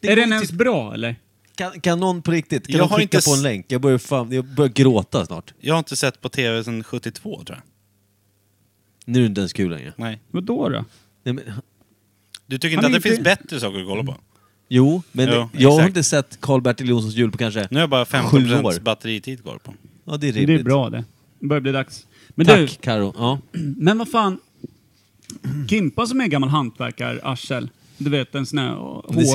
Speaker 1: Det
Speaker 2: Är
Speaker 1: går
Speaker 2: den
Speaker 1: ju
Speaker 2: ens
Speaker 1: till-
Speaker 2: bra eller?
Speaker 1: kan, kan någon på riktigt, kan
Speaker 3: Jag
Speaker 1: någon
Speaker 3: har
Speaker 1: klicka
Speaker 3: inte
Speaker 1: på en
Speaker 3: s-
Speaker 1: länk? Jag börjar, fan, jag börjar gråta snart.
Speaker 3: Jag har inte sett på TV sedan 72, tror jag.
Speaker 1: Nu är det inte ens kul längre.
Speaker 3: Nej.
Speaker 2: Vadå då?
Speaker 1: Nej, men,
Speaker 3: Du tycker
Speaker 2: Han
Speaker 3: inte att
Speaker 2: är
Speaker 3: det
Speaker 2: inte-
Speaker 3: finns bättre saker att kolla på?
Speaker 1: jo, men
Speaker 3: Jo,
Speaker 1: jag har
Speaker 3: exakt.
Speaker 1: inte sett Karl-Bertil Jonssons jul på kanske...
Speaker 3: Nu har jag bara
Speaker 1: Sju
Speaker 3: 15
Speaker 1: år.
Speaker 3: batteritid kvar på.
Speaker 1: Ja, det är
Speaker 2: Det
Speaker 1: rimligt.
Speaker 2: är bra det. börjar bli dags. Men
Speaker 1: Tack,
Speaker 2: du,
Speaker 1: Karo. Ja.
Speaker 2: Men vad fan. Kimpa som är en gammal hantverkararsel. Du vet en sån här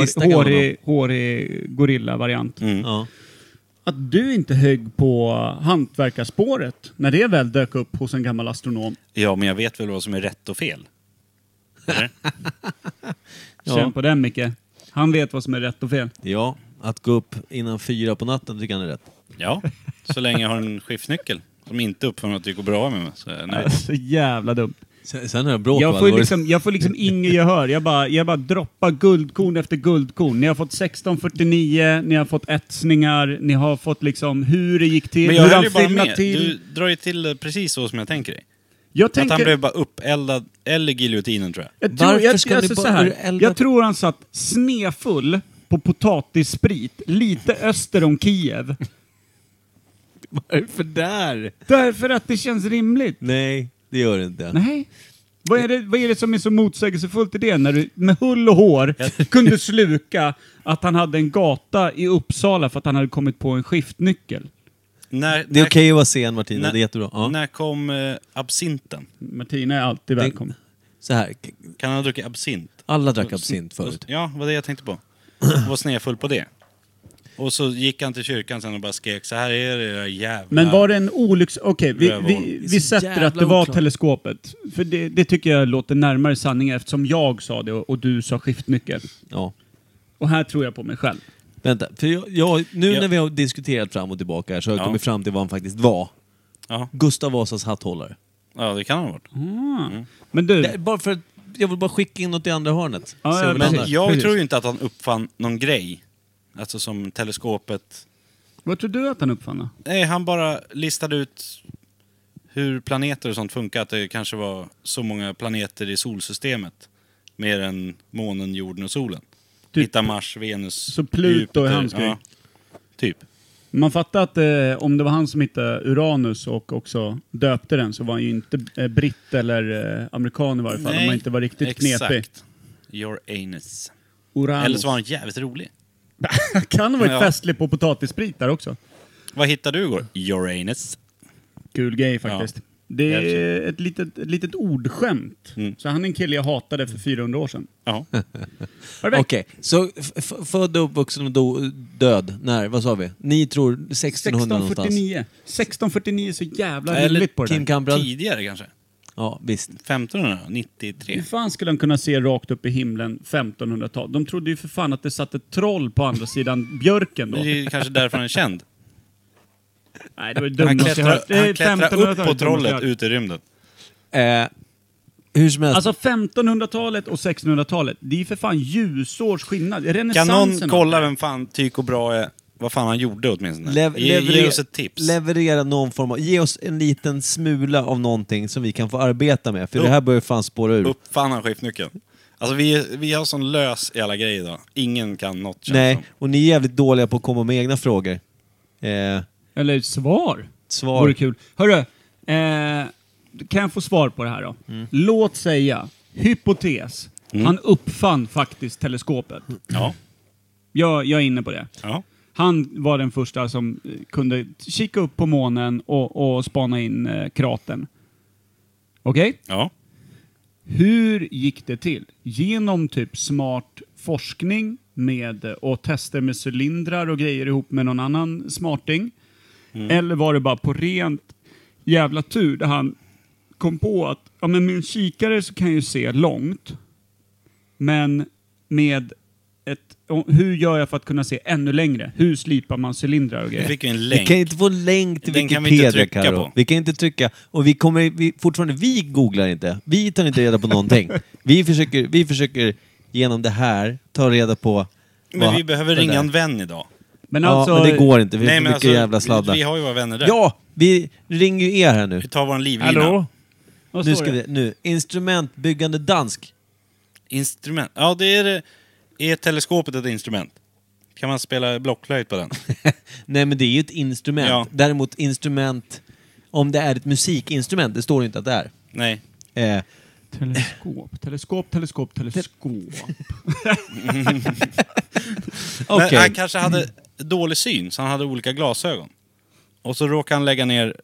Speaker 1: sista
Speaker 2: hår,
Speaker 1: gamla.
Speaker 2: hårig, hårig gorilla-variant.
Speaker 3: Mm.
Speaker 1: Ja.
Speaker 2: Att du inte högg på hantverkarspåret när det väl dök upp hos en gammal astronom.
Speaker 3: Ja, men jag vet väl vad som är rätt och fel. Eller?
Speaker 1: Ja.
Speaker 2: Känn på den Micke. Han vet vad som är rätt och fel.
Speaker 1: ja, att gå upp innan fyra på natten tycker han är rätt.
Speaker 3: ja, så länge jag har en skiftnyckel som inte uppför att det går bra med mig. Så är jag nöjd.
Speaker 2: Så jävla dumt.
Speaker 1: Sen, sen är det bråk
Speaker 2: Jag
Speaker 1: va?
Speaker 2: får,
Speaker 1: Det
Speaker 2: ju
Speaker 1: var-
Speaker 2: liksom, jag får
Speaker 3: [laughs]
Speaker 2: liksom inget gehör. Jag bara, jag bara droppar guldkorn efter guldkorn. Ni har fått 1649, ni har fått etsningar, ni har fått liksom hur det gick till,
Speaker 3: Men jag
Speaker 2: hur
Speaker 3: höll ju bara
Speaker 2: filmade
Speaker 3: med. Du drar ju till det precis så som jag tänker dig.
Speaker 2: Jag
Speaker 3: Att han
Speaker 2: tänker...
Speaker 3: blev bara uppeldad, eller giljotinen tror jag.
Speaker 2: Jag tror,
Speaker 1: Varför
Speaker 2: jag,
Speaker 1: ska
Speaker 2: jag,
Speaker 1: ni
Speaker 2: så
Speaker 1: bara
Speaker 2: här,
Speaker 1: elda-
Speaker 2: jag tror han satt snefull på potatissprit lite öster om Kiev.
Speaker 1: Varför där?
Speaker 2: Därför att det känns rimligt.
Speaker 1: Nej, det gör det inte.
Speaker 2: Nej. Vad är, det, vad är det som är så motsägelsefullt i det? När du med hull och hår kunde sluka att han hade en gata i Uppsala för att han hade kommit på en skiftnyckel.
Speaker 3: När,
Speaker 1: Det är okej
Speaker 3: när-
Speaker 1: att vara sen Martina,
Speaker 3: när-
Speaker 1: det är jättebra. Ja.
Speaker 3: När kom eh, absinten?
Speaker 2: Martina är alltid välkommen.
Speaker 1: Så här, k-
Speaker 3: Kan han ha druckit absint?
Speaker 1: alla drack absint förut.
Speaker 3: Ja, vad det jag tänkte
Speaker 1: [clears throat]
Speaker 3: på. Var snefull på det. Och så gick han till kyrkan sen och bara skrek så här är det era jävlar.
Speaker 2: Men var det en olycks... Okej, vi,
Speaker 3: Rövhål.
Speaker 2: vi,
Speaker 1: Det är
Speaker 2: vi
Speaker 1: så
Speaker 2: sätter
Speaker 1: jävla
Speaker 2: att det var
Speaker 1: oklart.
Speaker 2: teleskopet. För det, det tycker jag låter närmare sanningen eftersom jag sa det och, och du sa skiftnyckel.
Speaker 1: Ja.
Speaker 2: Och här tror jag på mig själv.
Speaker 1: Vänta, för jag, jag, nu
Speaker 3: Ja.
Speaker 1: när vi har diskuterat fram och tillbaka här så har jag
Speaker 3: Ja.
Speaker 1: kommit fram till vad han faktiskt var.
Speaker 3: Ja,
Speaker 1: Gustav Vasas hatthållare.
Speaker 3: ja, det kan han ha varit.
Speaker 2: Mm. Men du,
Speaker 1: Det, är bara för att jag vill bara skicka in något i andra hörnet.
Speaker 2: Ja,
Speaker 1: Se
Speaker 2: ja,
Speaker 1: om det
Speaker 2: precis.
Speaker 1: landar.
Speaker 3: Men jag
Speaker 2: precis.
Speaker 3: tror ju inte att han uppfann någon grej. Alltså som teleskopet.
Speaker 2: vad tror du att han uppfann då?
Speaker 3: Nej, han bara listade ut hur planeter och sånt funkar. Att det kanske var så många planeter i solsystemet. Mer än månen, jorden och solen.
Speaker 2: Typ.
Speaker 3: Hitta Mars, Venus,
Speaker 2: Så Pluto är
Speaker 3: Jupiter.
Speaker 2: hans grej.
Speaker 3: Ja, typ.
Speaker 2: Man fattar att eh, om det var han som hittade Uranus och också döpte den så var han ju inte eh, britt eller eh, amerikan i varje fall. om han inte var riktigt
Speaker 3: exakt.
Speaker 2: knepig.
Speaker 3: Your anus.
Speaker 2: Uranus.
Speaker 3: Eller så var han jävligt rolig.
Speaker 2: [laughs] kan ha varit
Speaker 3: Ja.
Speaker 2: festlig på potatissprit där också.
Speaker 3: Vad hittade du igår? Your anus.
Speaker 2: Kul grej faktiskt.
Speaker 3: Ja.
Speaker 2: Det är
Speaker 3: Absolut.
Speaker 2: ett litet, ett litet ordskämt.
Speaker 3: Mm.
Speaker 2: Så han är en kille jag hatade för 400 år sedan.
Speaker 3: [laughs] Ja.
Speaker 2: Perfekt.
Speaker 1: Okej, så f- f- född, uppvuxen och do- död. När? Vad sa vi? Ni tror 1600 någonstans?
Speaker 2: 1649. 1649 är så jävla
Speaker 3: Eller
Speaker 2: rimligt på det
Speaker 1: Kim
Speaker 2: där.
Speaker 1: Kamprad?
Speaker 3: Tidigare kanske?
Speaker 1: Ja, visst.
Speaker 3: 1593?
Speaker 2: Hur fan skulle han kunna se rakt upp i himlen 1500-tal? De trodde ju för fan att det satt ett troll på andra sidan björken då.
Speaker 3: Men Det är kanske därför han är känd.
Speaker 2: Nej, det var det
Speaker 3: Han
Speaker 2: dummaste jag hört.
Speaker 3: klättrar,
Speaker 2: Det är
Speaker 3: han klättrar
Speaker 2: 1500-talet
Speaker 3: upp
Speaker 2: dummaste
Speaker 3: på
Speaker 2: jag
Speaker 3: trollet
Speaker 2: hört.
Speaker 3: ut i rymden.
Speaker 1: Eh, hur som helst.
Speaker 2: Alltså 1500-talet och 1600-talet, det är ju för fan ljusårs skillnad.
Speaker 3: Kan någon
Speaker 2: Renässansen.
Speaker 3: kolla vem fan Tycho Brahe, vad fan han gjorde åtminstone?
Speaker 1: Lev-
Speaker 3: ge,
Speaker 1: leverer-
Speaker 3: ge oss ett tips.
Speaker 1: Leverera någon form av... Ge oss en liten smula av någonting som vi kan få arbeta med. För det här börjar fan spåra ur.
Speaker 3: Uppfann han skiftnyckeln? Alltså vi, vi har sån lös i alla grejer idag. Ingen kan något känns
Speaker 1: Nej,
Speaker 3: som.
Speaker 1: och ni är jävligt dåliga på att komma med egna frågor. Eh,
Speaker 2: Eller svar.
Speaker 1: Svar.
Speaker 2: Vore kul. Hörru, eh, kan jag få svar på det här då?
Speaker 3: Mm.
Speaker 2: Låt säga, hypotes. Han uppfann faktiskt teleskopet.
Speaker 3: Ja.
Speaker 2: Jag, jag är inne på det.
Speaker 3: ja.
Speaker 2: Han var den första som eh, kunde kika upp på månen och, och spana in eh, kratern. Okej?
Speaker 3: Ja.
Speaker 2: Hur gick det till? Genom typ smart forskning med, och tester med cylindrar och grejer ihop med någon annan smarting?
Speaker 1: Mm.
Speaker 2: Eller var det bara på rent jävla tur där han kom på att ja, men med en kikare så kan jag ju se långt. Men med ett... och Hur gör jag för att kunna se ännu längre? Hur slipar man cylindrar och
Speaker 3: Nu
Speaker 2: grejer?
Speaker 3: fick vi en
Speaker 1: vi kan
Speaker 3: länk.
Speaker 1: inte få en länk till
Speaker 3: Den kan vi inte
Speaker 1: Wikipedia,
Speaker 3: trycka
Speaker 1: Karo.
Speaker 3: på.
Speaker 1: Vi kan inte trycka. Och vi kommer... Vi, fortfarande, vi googlar inte. Vi tar inte reda på
Speaker 3: [laughs]
Speaker 1: någonting. vi, försöker, vi försöker genom det här ta reda på...
Speaker 3: Men
Speaker 1: vad-
Speaker 3: vi behöver
Speaker 1: det
Speaker 3: ringa
Speaker 1: där.
Speaker 3: en vän idag.
Speaker 2: Men
Speaker 1: Ja,
Speaker 2: alltså...
Speaker 1: men det går inte. Vi har
Speaker 3: Nej,
Speaker 1: för
Speaker 3: men
Speaker 1: mycket
Speaker 3: alltså,
Speaker 1: jävla sladdar.
Speaker 3: Vi, vi har ju våra vänner där.
Speaker 1: Ja! Vi ringer ju er här nu.
Speaker 3: Vi tar vår livlina.
Speaker 2: Hallå? Vad
Speaker 1: Nu
Speaker 2: står
Speaker 1: ska
Speaker 2: det?
Speaker 1: vi... Nu. Instrumentbyggande dansk. [laughs]
Speaker 3: Instrument. Ja, det är det. Är teleskopet ett instrument? Kan man spela blocklöjt
Speaker 1: [laughs]
Speaker 3: på den?
Speaker 1: Nej, men det är ju ett instrument.
Speaker 3: Ja.
Speaker 1: Däremot instrument... Om det är ett musikinstrument, det står ju inte att det är.
Speaker 3: Nej.
Speaker 1: Eh,
Speaker 2: Teleskop, teleskop, teleskop, teleskop.
Speaker 1: Okej.
Speaker 3: Men han kanske hade dålig syn, så han hade olika glasögon. Och så råkade han lägga ner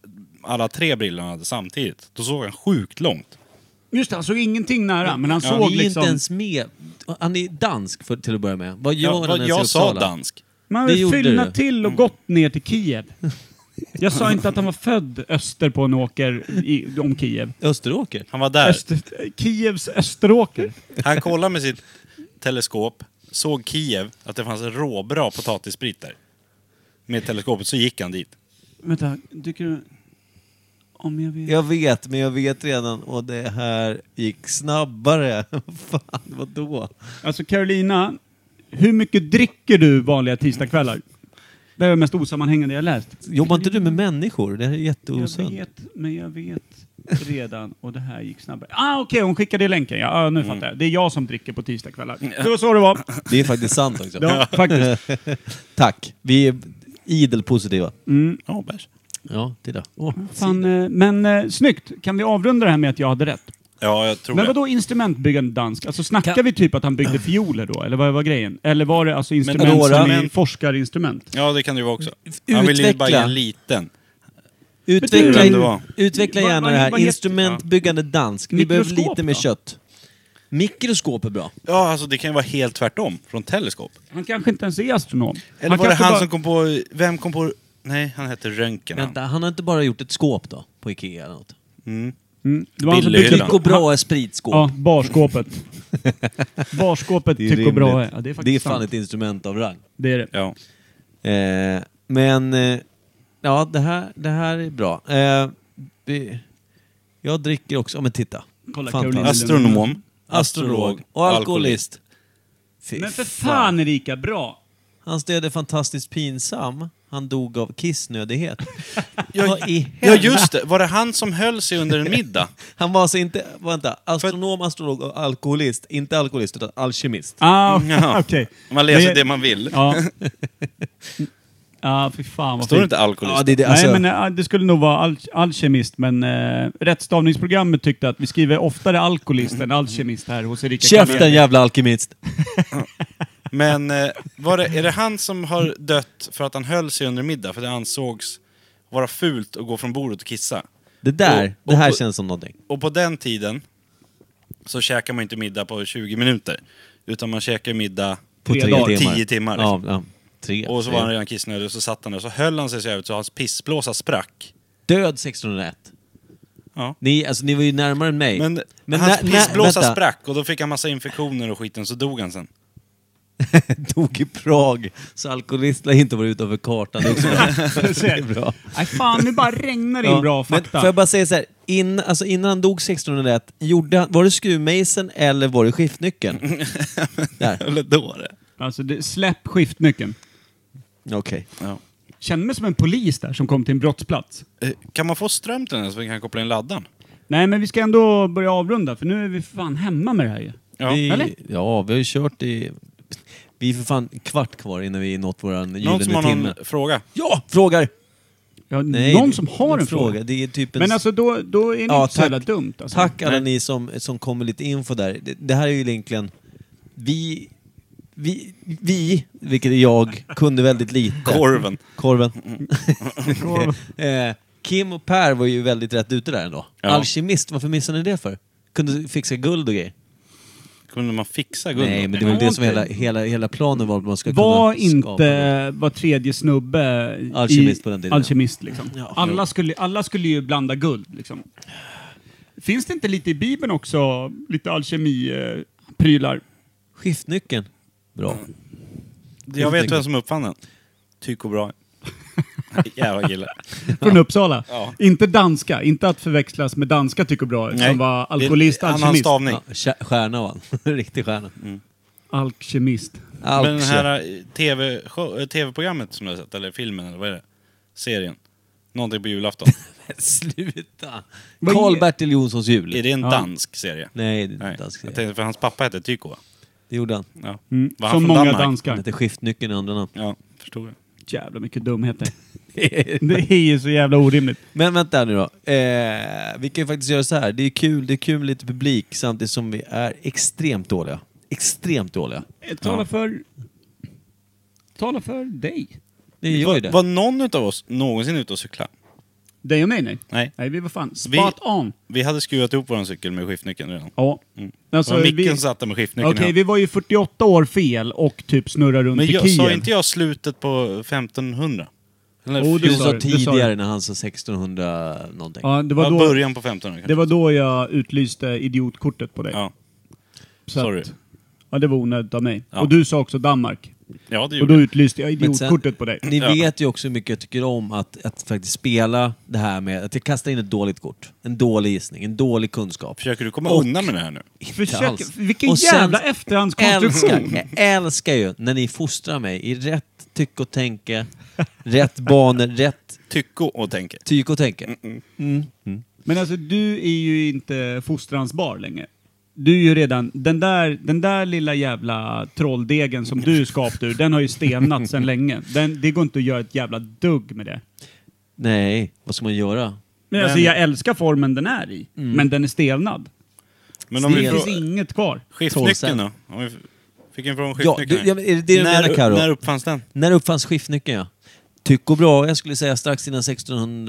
Speaker 3: alla tre brillorna han hade samtidigt. Då såg han sjukt långt.
Speaker 2: Just det, han såg ingenting nära, men han
Speaker 1: Han är
Speaker 2: såg
Speaker 1: ju
Speaker 2: liksom...
Speaker 1: inte ens med. Han är dansk för, till att börja med. Vad gör
Speaker 3: Ja,
Speaker 1: han
Speaker 3: vad-
Speaker 1: ens i
Speaker 3: jag sa
Speaker 1: Uppsala?
Speaker 3: dansk.
Speaker 2: Man
Speaker 1: Det
Speaker 2: vill
Speaker 1: gjorde
Speaker 2: fyllna
Speaker 1: du.
Speaker 2: till och gått ner till
Speaker 1: [laughs]
Speaker 2: Kiev. Jag sa inte att han var född öster på en åker i, om Kiev.
Speaker 1: Österåker?
Speaker 3: Han var där.
Speaker 2: Öster, Kievs Österåker.
Speaker 3: Han kollade med sitt teleskop, såg Kiev, att det fanns råbra potatisbit där. Med teleskopet så gick han dit.
Speaker 2: Vänta, tycker du... Om jag vet...
Speaker 1: Jag vet, men jag vet redan och det här gick snabbare. [laughs] Fan, vadå?
Speaker 2: Alltså Carolina, hur mycket dricker du vanliga tisdagskvällar? Det är det mest osammanhängande jag läst.
Speaker 1: Jobbar inte du med människor? Det här är
Speaker 2: Jag
Speaker 1: jätteosunt.
Speaker 2: vet, men jag vet redan och det här gick snabbare. Ah, okej, hon skickade länken. Ja, ah, nu
Speaker 1: Mm.
Speaker 2: fattar jag. Det är jag som dricker på tisdagskvällar. Det var så det var.
Speaker 1: Det är faktiskt sant [laughs] också.
Speaker 2: Ja, faktiskt.
Speaker 1: Tack. Vi är idel positiva.
Speaker 2: Mm.
Speaker 3: Ja, bärs.
Speaker 1: Ja, titta. Åh,
Speaker 2: Fan, eh, men eh, snyggt. Kan vi avrunda det här med att jag hade rätt?
Speaker 3: Ja, jag tror
Speaker 2: Men
Speaker 3: det.
Speaker 2: vadå instrumentbyggande dansk? Alltså snackar vi typ att han byggde fioler då? Eller vad var grejen? Eller var det alltså instrument som
Speaker 1: Dora-
Speaker 2: är forskarinstrument?
Speaker 3: Ja, det kan det ju vara också. Han ville ju bara ge
Speaker 1: Utveckla.
Speaker 3: en liten.
Speaker 1: Utveckla,
Speaker 3: Vem det var.
Speaker 1: utveckla
Speaker 2: Vad-
Speaker 1: gärna
Speaker 2: vad-
Speaker 1: det här.
Speaker 2: vad heter-
Speaker 1: Instrumentbyggande dansk. Vi behöver
Speaker 2: Mikroskop
Speaker 1: lite mer
Speaker 2: då?
Speaker 1: kött. Mikroskop är bra.
Speaker 3: Ja, alltså det kan ju vara helt tvärtom från teleskop.
Speaker 2: Han kanske inte ens är astronom.
Speaker 3: Eller var det
Speaker 2: kanske
Speaker 3: han
Speaker 2: bara-
Speaker 3: som kom på... Vem kom på... Nej, han hette Röntgen. han.
Speaker 1: Vänta, han har inte bara gjort ett skåp då? På Ikea eller något?
Speaker 3: Mm.
Speaker 2: Mm, det var han som
Speaker 3: Billy
Speaker 2: byggde...
Speaker 3: Hyllan.
Speaker 1: Tycho Brahe spritskåp.
Speaker 2: Ja, barskåpet. [laughs] barskåpet tycker bra är. Ja, det är faktiskt
Speaker 1: det är fan
Speaker 2: sant.
Speaker 1: ett instrument av rang.
Speaker 2: Det är det.
Speaker 3: Ja.
Speaker 1: Eh, men, eh, ja det här, det här är bra. Eh, vi, jag dricker också, men titta.
Speaker 2: Kolla,
Speaker 1: Fantastiskt.
Speaker 2: Caroline.
Speaker 3: Astronom.
Speaker 1: Astrolog och alkoholist. Fy
Speaker 2: Men för fan Erika, bra!
Speaker 1: Hans död är fantastiskt pinsam. Han dog av
Speaker 2: [laughs]
Speaker 1: kissnödighet. Vad i
Speaker 3: Ja,
Speaker 1: helvete?
Speaker 3: just det. Var det han som höll sig under en
Speaker 1: [laughs]
Speaker 3: middag?
Speaker 1: Han var alltså inte, vänta, astronom, astrolog och alkoholist. Inte alkoholist, utan alkemist.
Speaker 2: [laughs] Ah,
Speaker 3: Ja.
Speaker 2: okej.
Speaker 3: Man läser
Speaker 2: är-
Speaker 3: det man vill.
Speaker 2: Ja. [laughs] Ja, fy fan vad
Speaker 3: Står det
Speaker 2: fint.
Speaker 3: inte alkoholist?
Speaker 1: Ja, det, är det, alltså,
Speaker 2: Nej, men eh, det skulle nog vara al- alkemist, men eh, rättstavningsprogrammet tyckte att vi skriver oftare alkoholist än alkemist här hos Erika
Speaker 1: Käften
Speaker 2: Kamel.
Speaker 1: jävla alkemist!
Speaker 3: Men eh, var det, är det han som har dött för att han höll sig under middag? För det ansågs vara fult att gå från bordet och kissa.
Speaker 1: Det där,
Speaker 3: Och- och
Speaker 1: det här
Speaker 3: på-
Speaker 1: känns som någonting.
Speaker 3: Och på den tiden så käkar man inte middag på 20 minuter. Utan man käkar middag...
Speaker 1: På
Speaker 2: Tre
Speaker 1: tre,
Speaker 2: dagar,
Speaker 1: timmar.
Speaker 3: tio timmar,
Speaker 1: Ja,
Speaker 3: liksom.
Speaker 1: ja, tre.
Speaker 3: Och så var han redan kissnödig och så satt han där. Så höll han sig så jävligt så hans pissblåsa sprack.
Speaker 1: Död 1601.
Speaker 3: Ja.
Speaker 1: Ni, alltså, ni var ju närmare än mig.
Speaker 3: Men, hans
Speaker 1: när- när-
Speaker 3: pissblåsa
Speaker 1: vänta.
Speaker 3: sprack och då fick han massa infektioner och skiten, så dog han sen.
Speaker 1: [laughs] Dog i Prag, så alkoholister har inte varit utanför kartan. Det är också [laughs]
Speaker 2: Det är
Speaker 1: bra.
Speaker 2: Nej, fan, nu bara regnar det in
Speaker 1: Ja,
Speaker 2: bra
Speaker 1: men
Speaker 2: fakta.
Speaker 1: Får jag bara säga så här, in, alltså innan han dog 1601, gjorde han, var det skruvmejseln eller var det
Speaker 3: [laughs]
Speaker 1: skiftnyckeln? Där.
Speaker 3: Eller då det.
Speaker 2: Alltså, det, släpp skiftnyckeln.
Speaker 1: Okej.
Speaker 3: Ja.
Speaker 2: Känner mig som en polis där som kom till en brottsplats.
Speaker 3: Eh, Kan man få ström till den här så vi kan koppla in laddaren?
Speaker 2: Nej, men vi ska ändå börja avrunda, för nu är vi fan hemma med det här ju.
Speaker 3: Ja.
Speaker 2: eller?
Speaker 1: Vi, ja, vi har ju kört i... Vi är för fan kvart kvar innan vi nått våran
Speaker 3: Någon som har
Speaker 1: gyllene
Speaker 3: någon
Speaker 1: timme.
Speaker 3: fråga?
Speaker 1: Ja! Frågar!
Speaker 2: Ja,
Speaker 1: Nej,
Speaker 2: någon
Speaker 1: det-
Speaker 2: som har en fråga.
Speaker 1: Det är typ en
Speaker 2: Men alltså, då, då är det
Speaker 1: Ja,
Speaker 2: inte så
Speaker 1: tack.
Speaker 2: jävla dumt. Alltså.
Speaker 1: Tack alla
Speaker 3: Nej.
Speaker 1: ni som, som kom med lite info där. Det, det här är ju egentligen... Vi, vi, vi, vilket är jag, kunde väldigt lite.
Speaker 3: Korven.
Speaker 1: Korven. [laughs]
Speaker 2: Mm.
Speaker 1: eh, Kim och Per var ju väldigt rätt ute där ändå.
Speaker 3: Ja.
Speaker 1: Alkemist, varför missade ni det för? Kunde fixa guld och grejer.
Speaker 3: Kunde man fixa guld?
Speaker 1: Nej, men det var ju
Speaker 2: Ja,
Speaker 1: det som
Speaker 2: okej.
Speaker 1: hela, hela, hela planen var, att man ska
Speaker 2: Var
Speaker 1: kunna skapa guld.
Speaker 2: inte var tredje snubbe
Speaker 1: Alkemist
Speaker 2: i,
Speaker 1: på den tiden.
Speaker 2: Alkemist liksom.
Speaker 1: Ja.
Speaker 2: alla, skulle, alla skulle ju blanda guld liksom. Finns det inte lite i Bibeln också, lite alkemi-prylar?
Speaker 1: Skiftnyckeln. Bra.
Speaker 3: Jag vet vem som uppfann den.
Speaker 1: [laughs]
Speaker 3: Tycho Brahe. Jävla kille.
Speaker 2: Från Uppsala.
Speaker 3: Ja.
Speaker 2: Inte danska, inte att förväxlas med danska tycker bra
Speaker 3: Nej.
Speaker 2: som var alkoholist,
Speaker 3: Det- Annan
Speaker 2: alkemist.
Speaker 3: stavning.
Speaker 1: Ja, kä- stjärna var han. [laughs] Riktig stjärna.
Speaker 2: Alkemist.
Speaker 1: Alkse.
Speaker 3: Mm. Men den här eh, TV show- eh, tv-programmet som du har sett, eller filmen, eller vad är det? Serien. Någonting
Speaker 1: [laughs]
Speaker 3: på julafton.
Speaker 1: Sluta!
Speaker 2: Vad är-
Speaker 1: Karl-Bertil Jonssons jul.
Speaker 3: är det en
Speaker 2: Ja.
Speaker 3: dansk serie?
Speaker 1: Nej, det är inte
Speaker 3: Nej.
Speaker 1: dansk
Speaker 3: Jag
Speaker 1: serie.
Speaker 3: tänkte, för hans pappa hette Tycho, va?
Speaker 1: Det gjorde han.
Speaker 3: Ja.
Speaker 2: Mm.
Speaker 3: Var han
Speaker 2: Som
Speaker 3: från
Speaker 2: många
Speaker 3: Danmark?
Speaker 1: Han
Speaker 2: danskar.
Speaker 1: hette Skiftnyckeln i andra namn.
Speaker 3: Ja, förstod jag.
Speaker 2: Jävla mycket dumheter. det är ju så jävla orimligt.
Speaker 1: Men vänta nu då. Eh, vi kan ju faktiskt göra så här. Det är kul, det är kul med lite publik samtidigt som vi är extremt dåliga. Extremt dåliga.
Speaker 2: Eh, Tala för... Tala för dig.
Speaker 1: Det gör ju det.
Speaker 3: Var någon utav oss någonsin ute och cykla?
Speaker 2: Dig och mig nej.
Speaker 3: Nej.
Speaker 2: Nej, vi var fan
Speaker 3: Vi-
Speaker 2: spot on.
Speaker 3: Vi hade skruvat ihop vår cykel med skiftnyckeln redan.
Speaker 2: Ja.
Speaker 3: Alltså, micken
Speaker 2: vi-
Speaker 3: satt där med
Speaker 2: Okej,
Speaker 3: skiftnyckeln. i handen.
Speaker 2: vi var ju 48 år fel och typ snurrar runt
Speaker 3: Men
Speaker 2: i
Speaker 3: jag,
Speaker 2: Kiev.
Speaker 3: sa inte jag slutet på 1500? Eller
Speaker 2: Jo, det
Speaker 3: fjol-
Speaker 1: Du
Speaker 2: sa
Speaker 1: sa
Speaker 2: det, du sa det.
Speaker 1: tidigare när han sa 1600 någonting.
Speaker 2: Ja, det
Speaker 3: ja,
Speaker 2: var, då,
Speaker 3: början på 1500 kanske.
Speaker 2: det var då jag utlyste idiotkortet på dig.
Speaker 3: Ja,
Speaker 2: Så
Speaker 3: sorry.
Speaker 2: Att, ja, det var onödigt av mig.
Speaker 3: Ja.
Speaker 2: Och du sa också Danmark.
Speaker 3: Ja, det
Speaker 2: Och
Speaker 3: gjorde
Speaker 2: då
Speaker 3: jag.
Speaker 2: utlyste jag
Speaker 1: Men sen-
Speaker 2: idiotkortet på dig.
Speaker 1: Ni
Speaker 3: Ja.
Speaker 1: vet ju också hur mycket jag tycker om att, att faktiskt spela det här med att jag kastar in ett dåligt kort. En dålig gissning, en dålig kunskap.
Speaker 3: Försöker du komma
Speaker 1: Och-
Speaker 3: undan med det här nu?
Speaker 1: Inte
Speaker 2: Försök-
Speaker 1: alls.
Speaker 2: vilken
Speaker 1: Och sen
Speaker 2: jävla efterhandskonstruktion.
Speaker 1: Älskar, jag älskar ju när ni fostrar mig i rätt tyck och tänke, rätt banor, rätt
Speaker 3: Tycko och tänker.
Speaker 1: tyck och tänke.
Speaker 2: Men alltså du är ju inte fostransbar längre. Du är ju redan, den där, den där lilla jävla trolldegen som du skapade ur, den har ju stenat sedan länge. Den, det går inte att göra ett jävla dugg med det.
Speaker 1: Nej, vad ska man göra?
Speaker 2: Men, alltså jag älskar formen den är i,
Speaker 3: Mm.
Speaker 2: men den är stelnad.
Speaker 3: Men om vi
Speaker 1: Stel.
Speaker 2: Det
Speaker 1: Bra.
Speaker 2: finns
Speaker 3: frågar...
Speaker 2: inget kvar.
Speaker 3: Skiftnyckeln då? Om vi f- fick en fråga om
Speaker 1: Ja,
Speaker 3: skiftnyckeln.
Speaker 1: du- ja, men är det det du
Speaker 3: när,
Speaker 1: menar, Karo?
Speaker 3: när uppfanns den?
Speaker 1: När uppfanns skiftnyckeln? Ja? Tyck och bra, jag skulle säga strax innan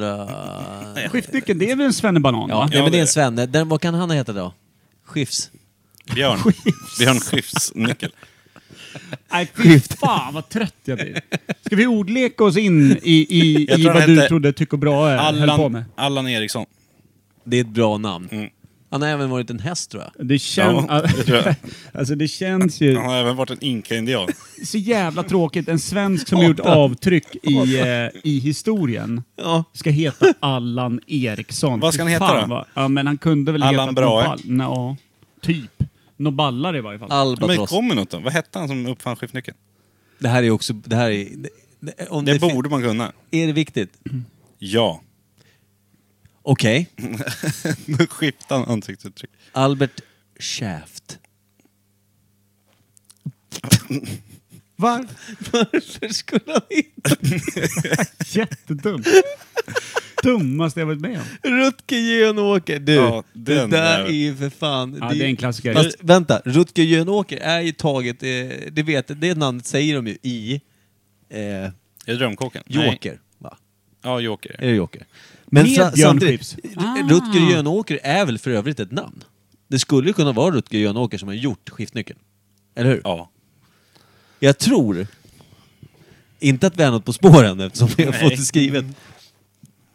Speaker 1: 1600... Ja,
Speaker 2: Skiftnyckeln, det är väl en svennebanan va?
Speaker 1: nej, men det
Speaker 3: det
Speaker 1: är
Speaker 3: är
Speaker 1: en svenne. Den, vad kan han heta då? Skifs?
Speaker 2: [laughs]
Speaker 3: Björn. Björn Skiftsnyckel.
Speaker 2: Nej fy fan vad trött jag
Speaker 3: [laughs]
Speaker 2: blir. Ska vi ordleka oss in i, i,
Speaker 3: Jag
Speaker 2: i
Speaker 3: tror
Speaker 2: vad
Speaker 3: han
Speaker 2: du
Speaker 3: hette
Speaker 2: trodde Tycho Brahe eh, höll på med?
Speaker 3: Allan, Allan Eriksson.
Speaker 1: Det är ett bra namn.
Speaker 3: Mm.
Speaker 1: Han har även varit en häst tror jag.
Speaker 2: Det, kän...
Speaker 3: Ja, det tror jag.
Speaker 2: [laughs] alltså, det känns ju...
Speaker 3: Han har även varit en inka-indian.
Speaker 2: så jävla tråkigt. En svensk som gjort avtryck i, eh, i historien
Speaker 1: Ja.
Speaker 2: ska heta Allan Eriksson.
Speaker 3: Vad ska han
Speaker 2: Fy
Speaker 3: heta
Speaker 2: fan,
Speaker 3: då?
Speaker 2: vad- Ja, men han kunde väl
Speaker 3: Allan
Speaker 2: heta...
Speaker 3: Brahe?
Speaker 2: Ja, typ. Något ballare i varje fall.
Speaker 1: Albatross.
Speaker 3: Men kom med något då. Vad hette han som uppfann skiftnyckeln?
Speaker 1: Det här är också... Det här är... Det, det, om
Speaker 3: Det,
Speaker 1: det fin-
Speaker 3: borde man kunna.
Speaker 1: Är det viktigt? [laughs]
Speaker 3: Ja.
Speaker 1: Okej.
Speaker 3: Nu skiftar han ansiktsuttryck.
Speaker 1: Albert Shaft.
Speaker 2: Var?
Speaker 1: Varför skulle han inte...
Speaker 2: Jättedumt. Dummaste jag varit med om.
Speaker 1: Rutger Jönåker. Du,
Speaker 3: Ja,
Speaker 1: det
Speaker 3: den
Speaker 1: där
Speaker 3: där.
Speaker 1: är ju för fan...
Speaker 2: Ja, det är en klassiker.
Speaker 1: Fast vänta, Rutger Jönåker är ju taget... Eh, det vet det namnet säger de ju i... Eh,
Speaker 3: Är det Drömkåken? Nej.
Speaker 1: Joker, va?
Speaker 3: Ja, Joker.
Speaker 1: Är det Joker? Men
Speaker 2: Med
Speaker 1: sa-
Speaker 2: Björn
Speaker 1: samtidigt,
Speaker 2: Skifs. Ah.
Speaker 1: R- Rutger Jönåker är väl för övrigt ett namn? Det skulle ju kunna vara Rutger Jönåker som har gjort skiftnyckeln. Eller hur?
Speaker 3: Ja.
Speaker 1: Jag tror... Inte att vi är något på spåren eftersom vi har
Speaker 3: Nej.
Speaker 1: fått det skrivet.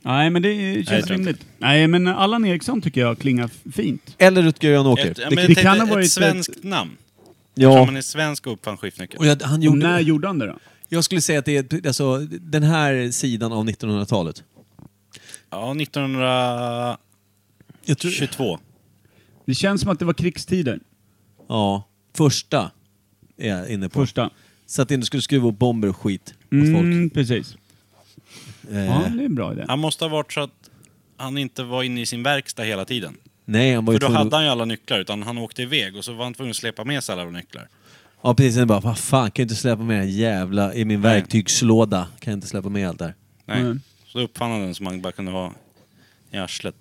Speaker 2: Nej, men det
Speaker 3: Nej,
Speaker 2: känns
Speaker 3: det är
Speaker 2: rimligt. Nej, men Allan Eriksson tycker jag klingar fint.
Speaker 1: Eller Rutger Jönåker.
Speaker 3: Ett,
Speaker 1: Det-
Speaker 3: men
Speaker 2: det
Speaker 3: det
Speaker 2: kan
Speaker 3: kan
Speaker 2: ha varit ett-
Speaker 3: ett svenskt namn. Om
Speaker 1: ja.
Speaker 3: man är svensk och uppfann skiftnyckeln.
Speaker 1: Och jag, han
Speaker 2: Och
Speaker 1: gjorde,
Speaker 2: när gjorde han det då?
Speaker 1: jag skulle säga att det är alltså, den här sidan av 1900-talet.
Speaker 3: Ja, 1922.
Speaker 1: Jag tror-
Speaker 2: Det känns som att det var krigstider.
Speaker 1: Ja. Första är jag inne på.
Speaker 2: Första.
Speaker 1: Så att det inte skulle skruva upp bomber och skit mot folk.
Speaker 2: Mm, precis.
Speaker 1: Eh,
Speaker 2: Ja, det är en bra idé.
Speaker 3: Han måste ha varit så att han inte var inne i sin verkstad hela tiden.
Speaker 1: Nej, han var ju
Speaker 3: För då
Speaker 1: tvungen att-
Speaker 3: hade han ju alla nycklar, utan han åkte iväg och så var han tvungen att släpa med sig alla nycklar.
Speaker 1: Ja precis, sen bara vad fan kan jag inte släppa med den jävla i min verktygslåda. Kan jag inte släppa med allt där.
Speaker 3: Nej.
Speaker 2: Mm.
Speaker 3: Så då uppfann han den som han bara kunde ha i arslet.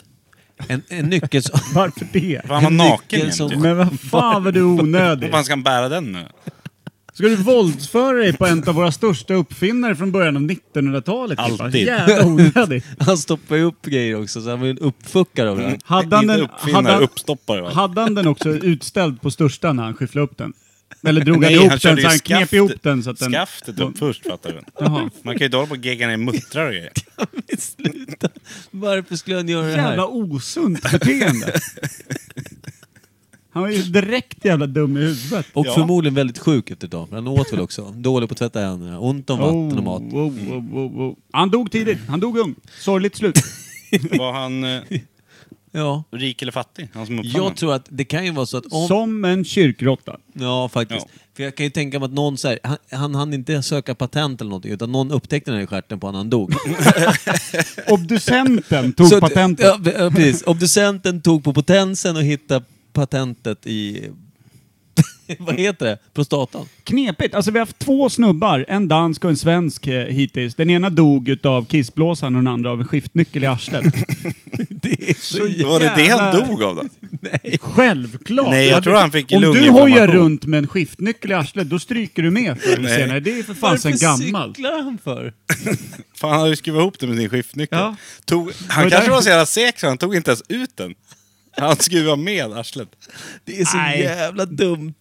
Speaker 1: En, en nyckel som...
Speaker 2: Varför det?
Speaker 3: För han var
Speaker 1: En
Speaker 3: naken
Speaker 1: nyckel
Speaker 3: jämt [laughs]
Speaker 1: som-
Speaker 3: ju.
Speaker 2: Men vad fan vad du är onödig.
Speaker 3: Vad fan ska han bära den nu?
Speaker 2: Ska du våldsföra dig på en av våra största uppfinnare från början av 1900-talet?
Speaker 3: Alltid.
Speaker 2: Jävla onödigt.
Speaker 1: [laughs] Han stoppar ju upp grejer också så han var ju en uppfuckare av det här.
Speaker 2: Hade han,
Speaker 3: Inte
Speaker 2: den,
Speaker 3: uppfinnare,
Speaker 2: hade, han,
Speaker 3: uppstoppare. Va?
Speaker 2: hade han den också utställd på största när han skyfflade upp den? Eller drog han
Speaker 3: Nej,
Speaker 2: ihop
Speaker 3: körde
Speaker 2: den
Speaker 3: ju
Speaker 2: så han knep
Speaker 3: skaftet-
Speaker 2: ihop den så att den...
Speaker 3: Skaftet upp först, fattar du.
Speaker 2: Jaha.
Speaker 3: Man kan ju inte hålla på och gegga ner muttrar och grejer.
Speaker 1: [laughs] Sluta! Varför skulle han göra det
Speaker 2: Jävla
Speaker 1: här?
Speaker 2: osunt beteende. Han var ju direkt jävla dum i huvudet.
Speaker 1: Och
Speaker 3: Ja.
Speaker 1: förmodligen väldigt sjuk efter ett tag. Han åt väl också. Dålig på att tvätta händerna. Ont om vatten och mat.
Speaker 2: Oh, oh, oh, oh, oh. Han dog tidigt. Han dog ung. Sorgligt slut.
Speaker 3: Var han eh,
Speaker 1: Ja.
Speaker 3: rik eller fattig? Han som uppfann
Speaker 1: Jag
Speaker 3: den.
Speaker 1: tror att det kan ju vara så att om...
Speaker 2: Som en kyrkråtta.
Speaker 1: Ja, faktiskt.
Speaker 3: Ja.
Speaker 1: För jag kan ju tänka mig att någon så här, han, han hann inte söka patent eller någonting utan någon upptäckte den här stjärten på honom när han dog.
Speaker 2: Obducenten tog
Speaker 1: Så att-
Speaker 2: patentet.
Speaker 1: Ja, b- ja, precis. Obducenten tog på potensen och hittade patentet i... [laughs] vad heter det? Prostatan.
Speaker 2: Knepigt. Alltså vi har haft två snubbar, en dansk och en svensk eh, hittills. Den ena dog utav kissblåsan och den andra av en skiftnyckel i arslet.
Speaker 1: Det är så
Speaker 2: Så
Speaker 1: jä-
Speaker 3: Var det det
Speaker 2: Jävlar.
Speaker 3: han dog av då?
Speaker 1: Nej.
Speaker 2: Självklart!
Speaker 3: Nej, jag tror han fick
Speaker 2: Om du
Speaker 3: lunginflammation.
Speaker 2: hojar runt med en skiftnyckel i arslet, då stryker du med förr eller senare. Det är för fan sen gammalt.
Speaker 1: cyklar han för?
Speaker 3: Fan, han hade ju skruvat ihop det med sin skiftnyckel.
Speaker 2: Ja.
Speaker 3: Tog,
Speaker 2: Var det
Speaker 3: han kanske
Speaker 2: där-
Speaker 3: var så jävla seg så han tog inte ens ut den. Han skruvade med arslet.
Speaker 1: Det är så
Speaker 2: Nej.
Speaker 1: jävla dumt.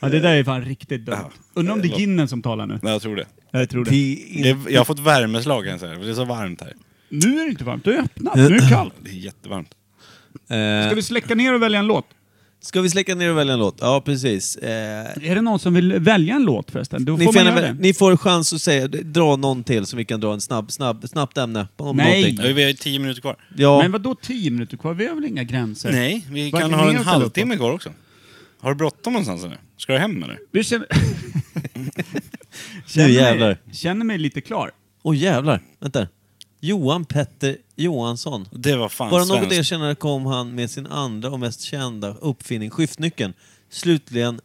Speaker 2: Ja, det där är fan riktigt dumt. Undrar om det är ginen som talar nu?
Speaker 3: Nej, jag tror det.
Speaker 2: Jag tror det.
Speaker 1: Det är
Speaker 3: det
Speaker 1: inte...
Speaker 3: jag har fått värmeslag kan jag säga, för det är så varmt här.
Speaker 2: Nu är det inte varmt, det är öppnat. Nu är det kallt.
Speaker 3: Det är jättevarmt.
Speaker 2: Ska vi släcka ner och välja en låt?
Speaker 1: Eh, Ska vi släcka ner och välja en låt? Ja, precis. Eh,
Speaker 2: Är det någon som vill välja en låt förresten? Då
Speaker 1: ni,
Speaker 2: får
Speaker 1: får
Speaker 2: man göra
Speaker 1: gärna-
Speaker 2: det.
Speaker 1: ni får chans att säga, dra någon till så vi kan dra en snabb, snabb, snabbt ämne. Om
Speaker 2: Nej.
Speaker 1: någonting.
Speaker 3: Ja, vi har ju tio minuter kvar.
Speaker 1: Ja,
Speaker 2: Men vad då 10 minuter kvar? Vi har väl inga gränser?
Speaker 3: Nej, vi
Speaker 2: Vad
Speaker 3: kan
Speaker 2: är det
Speaker 3: ha
Speaker 2: mer
Speaker 3: en
Speaker 2: att ställa upp
Speaker 3: halvtimme kvar också. Har du bråttom någonstans eller? Ska du hem eller?
Speaker 2: Vi känner...
Speaker 1: [laughs] nu jävlar.
Speaker 2: Mig, känner mig lite klar.
Speaker 1: Åh jävlar. Vänta. Johan Petter Johansson.
Speaker 3: Det var fan
Speaker 1: Bara något
Speaker 3: svenskt.
Speaker 1: år senare kom han med sin andra och mest kända uppfinning, skiftnyckeln. Slutligen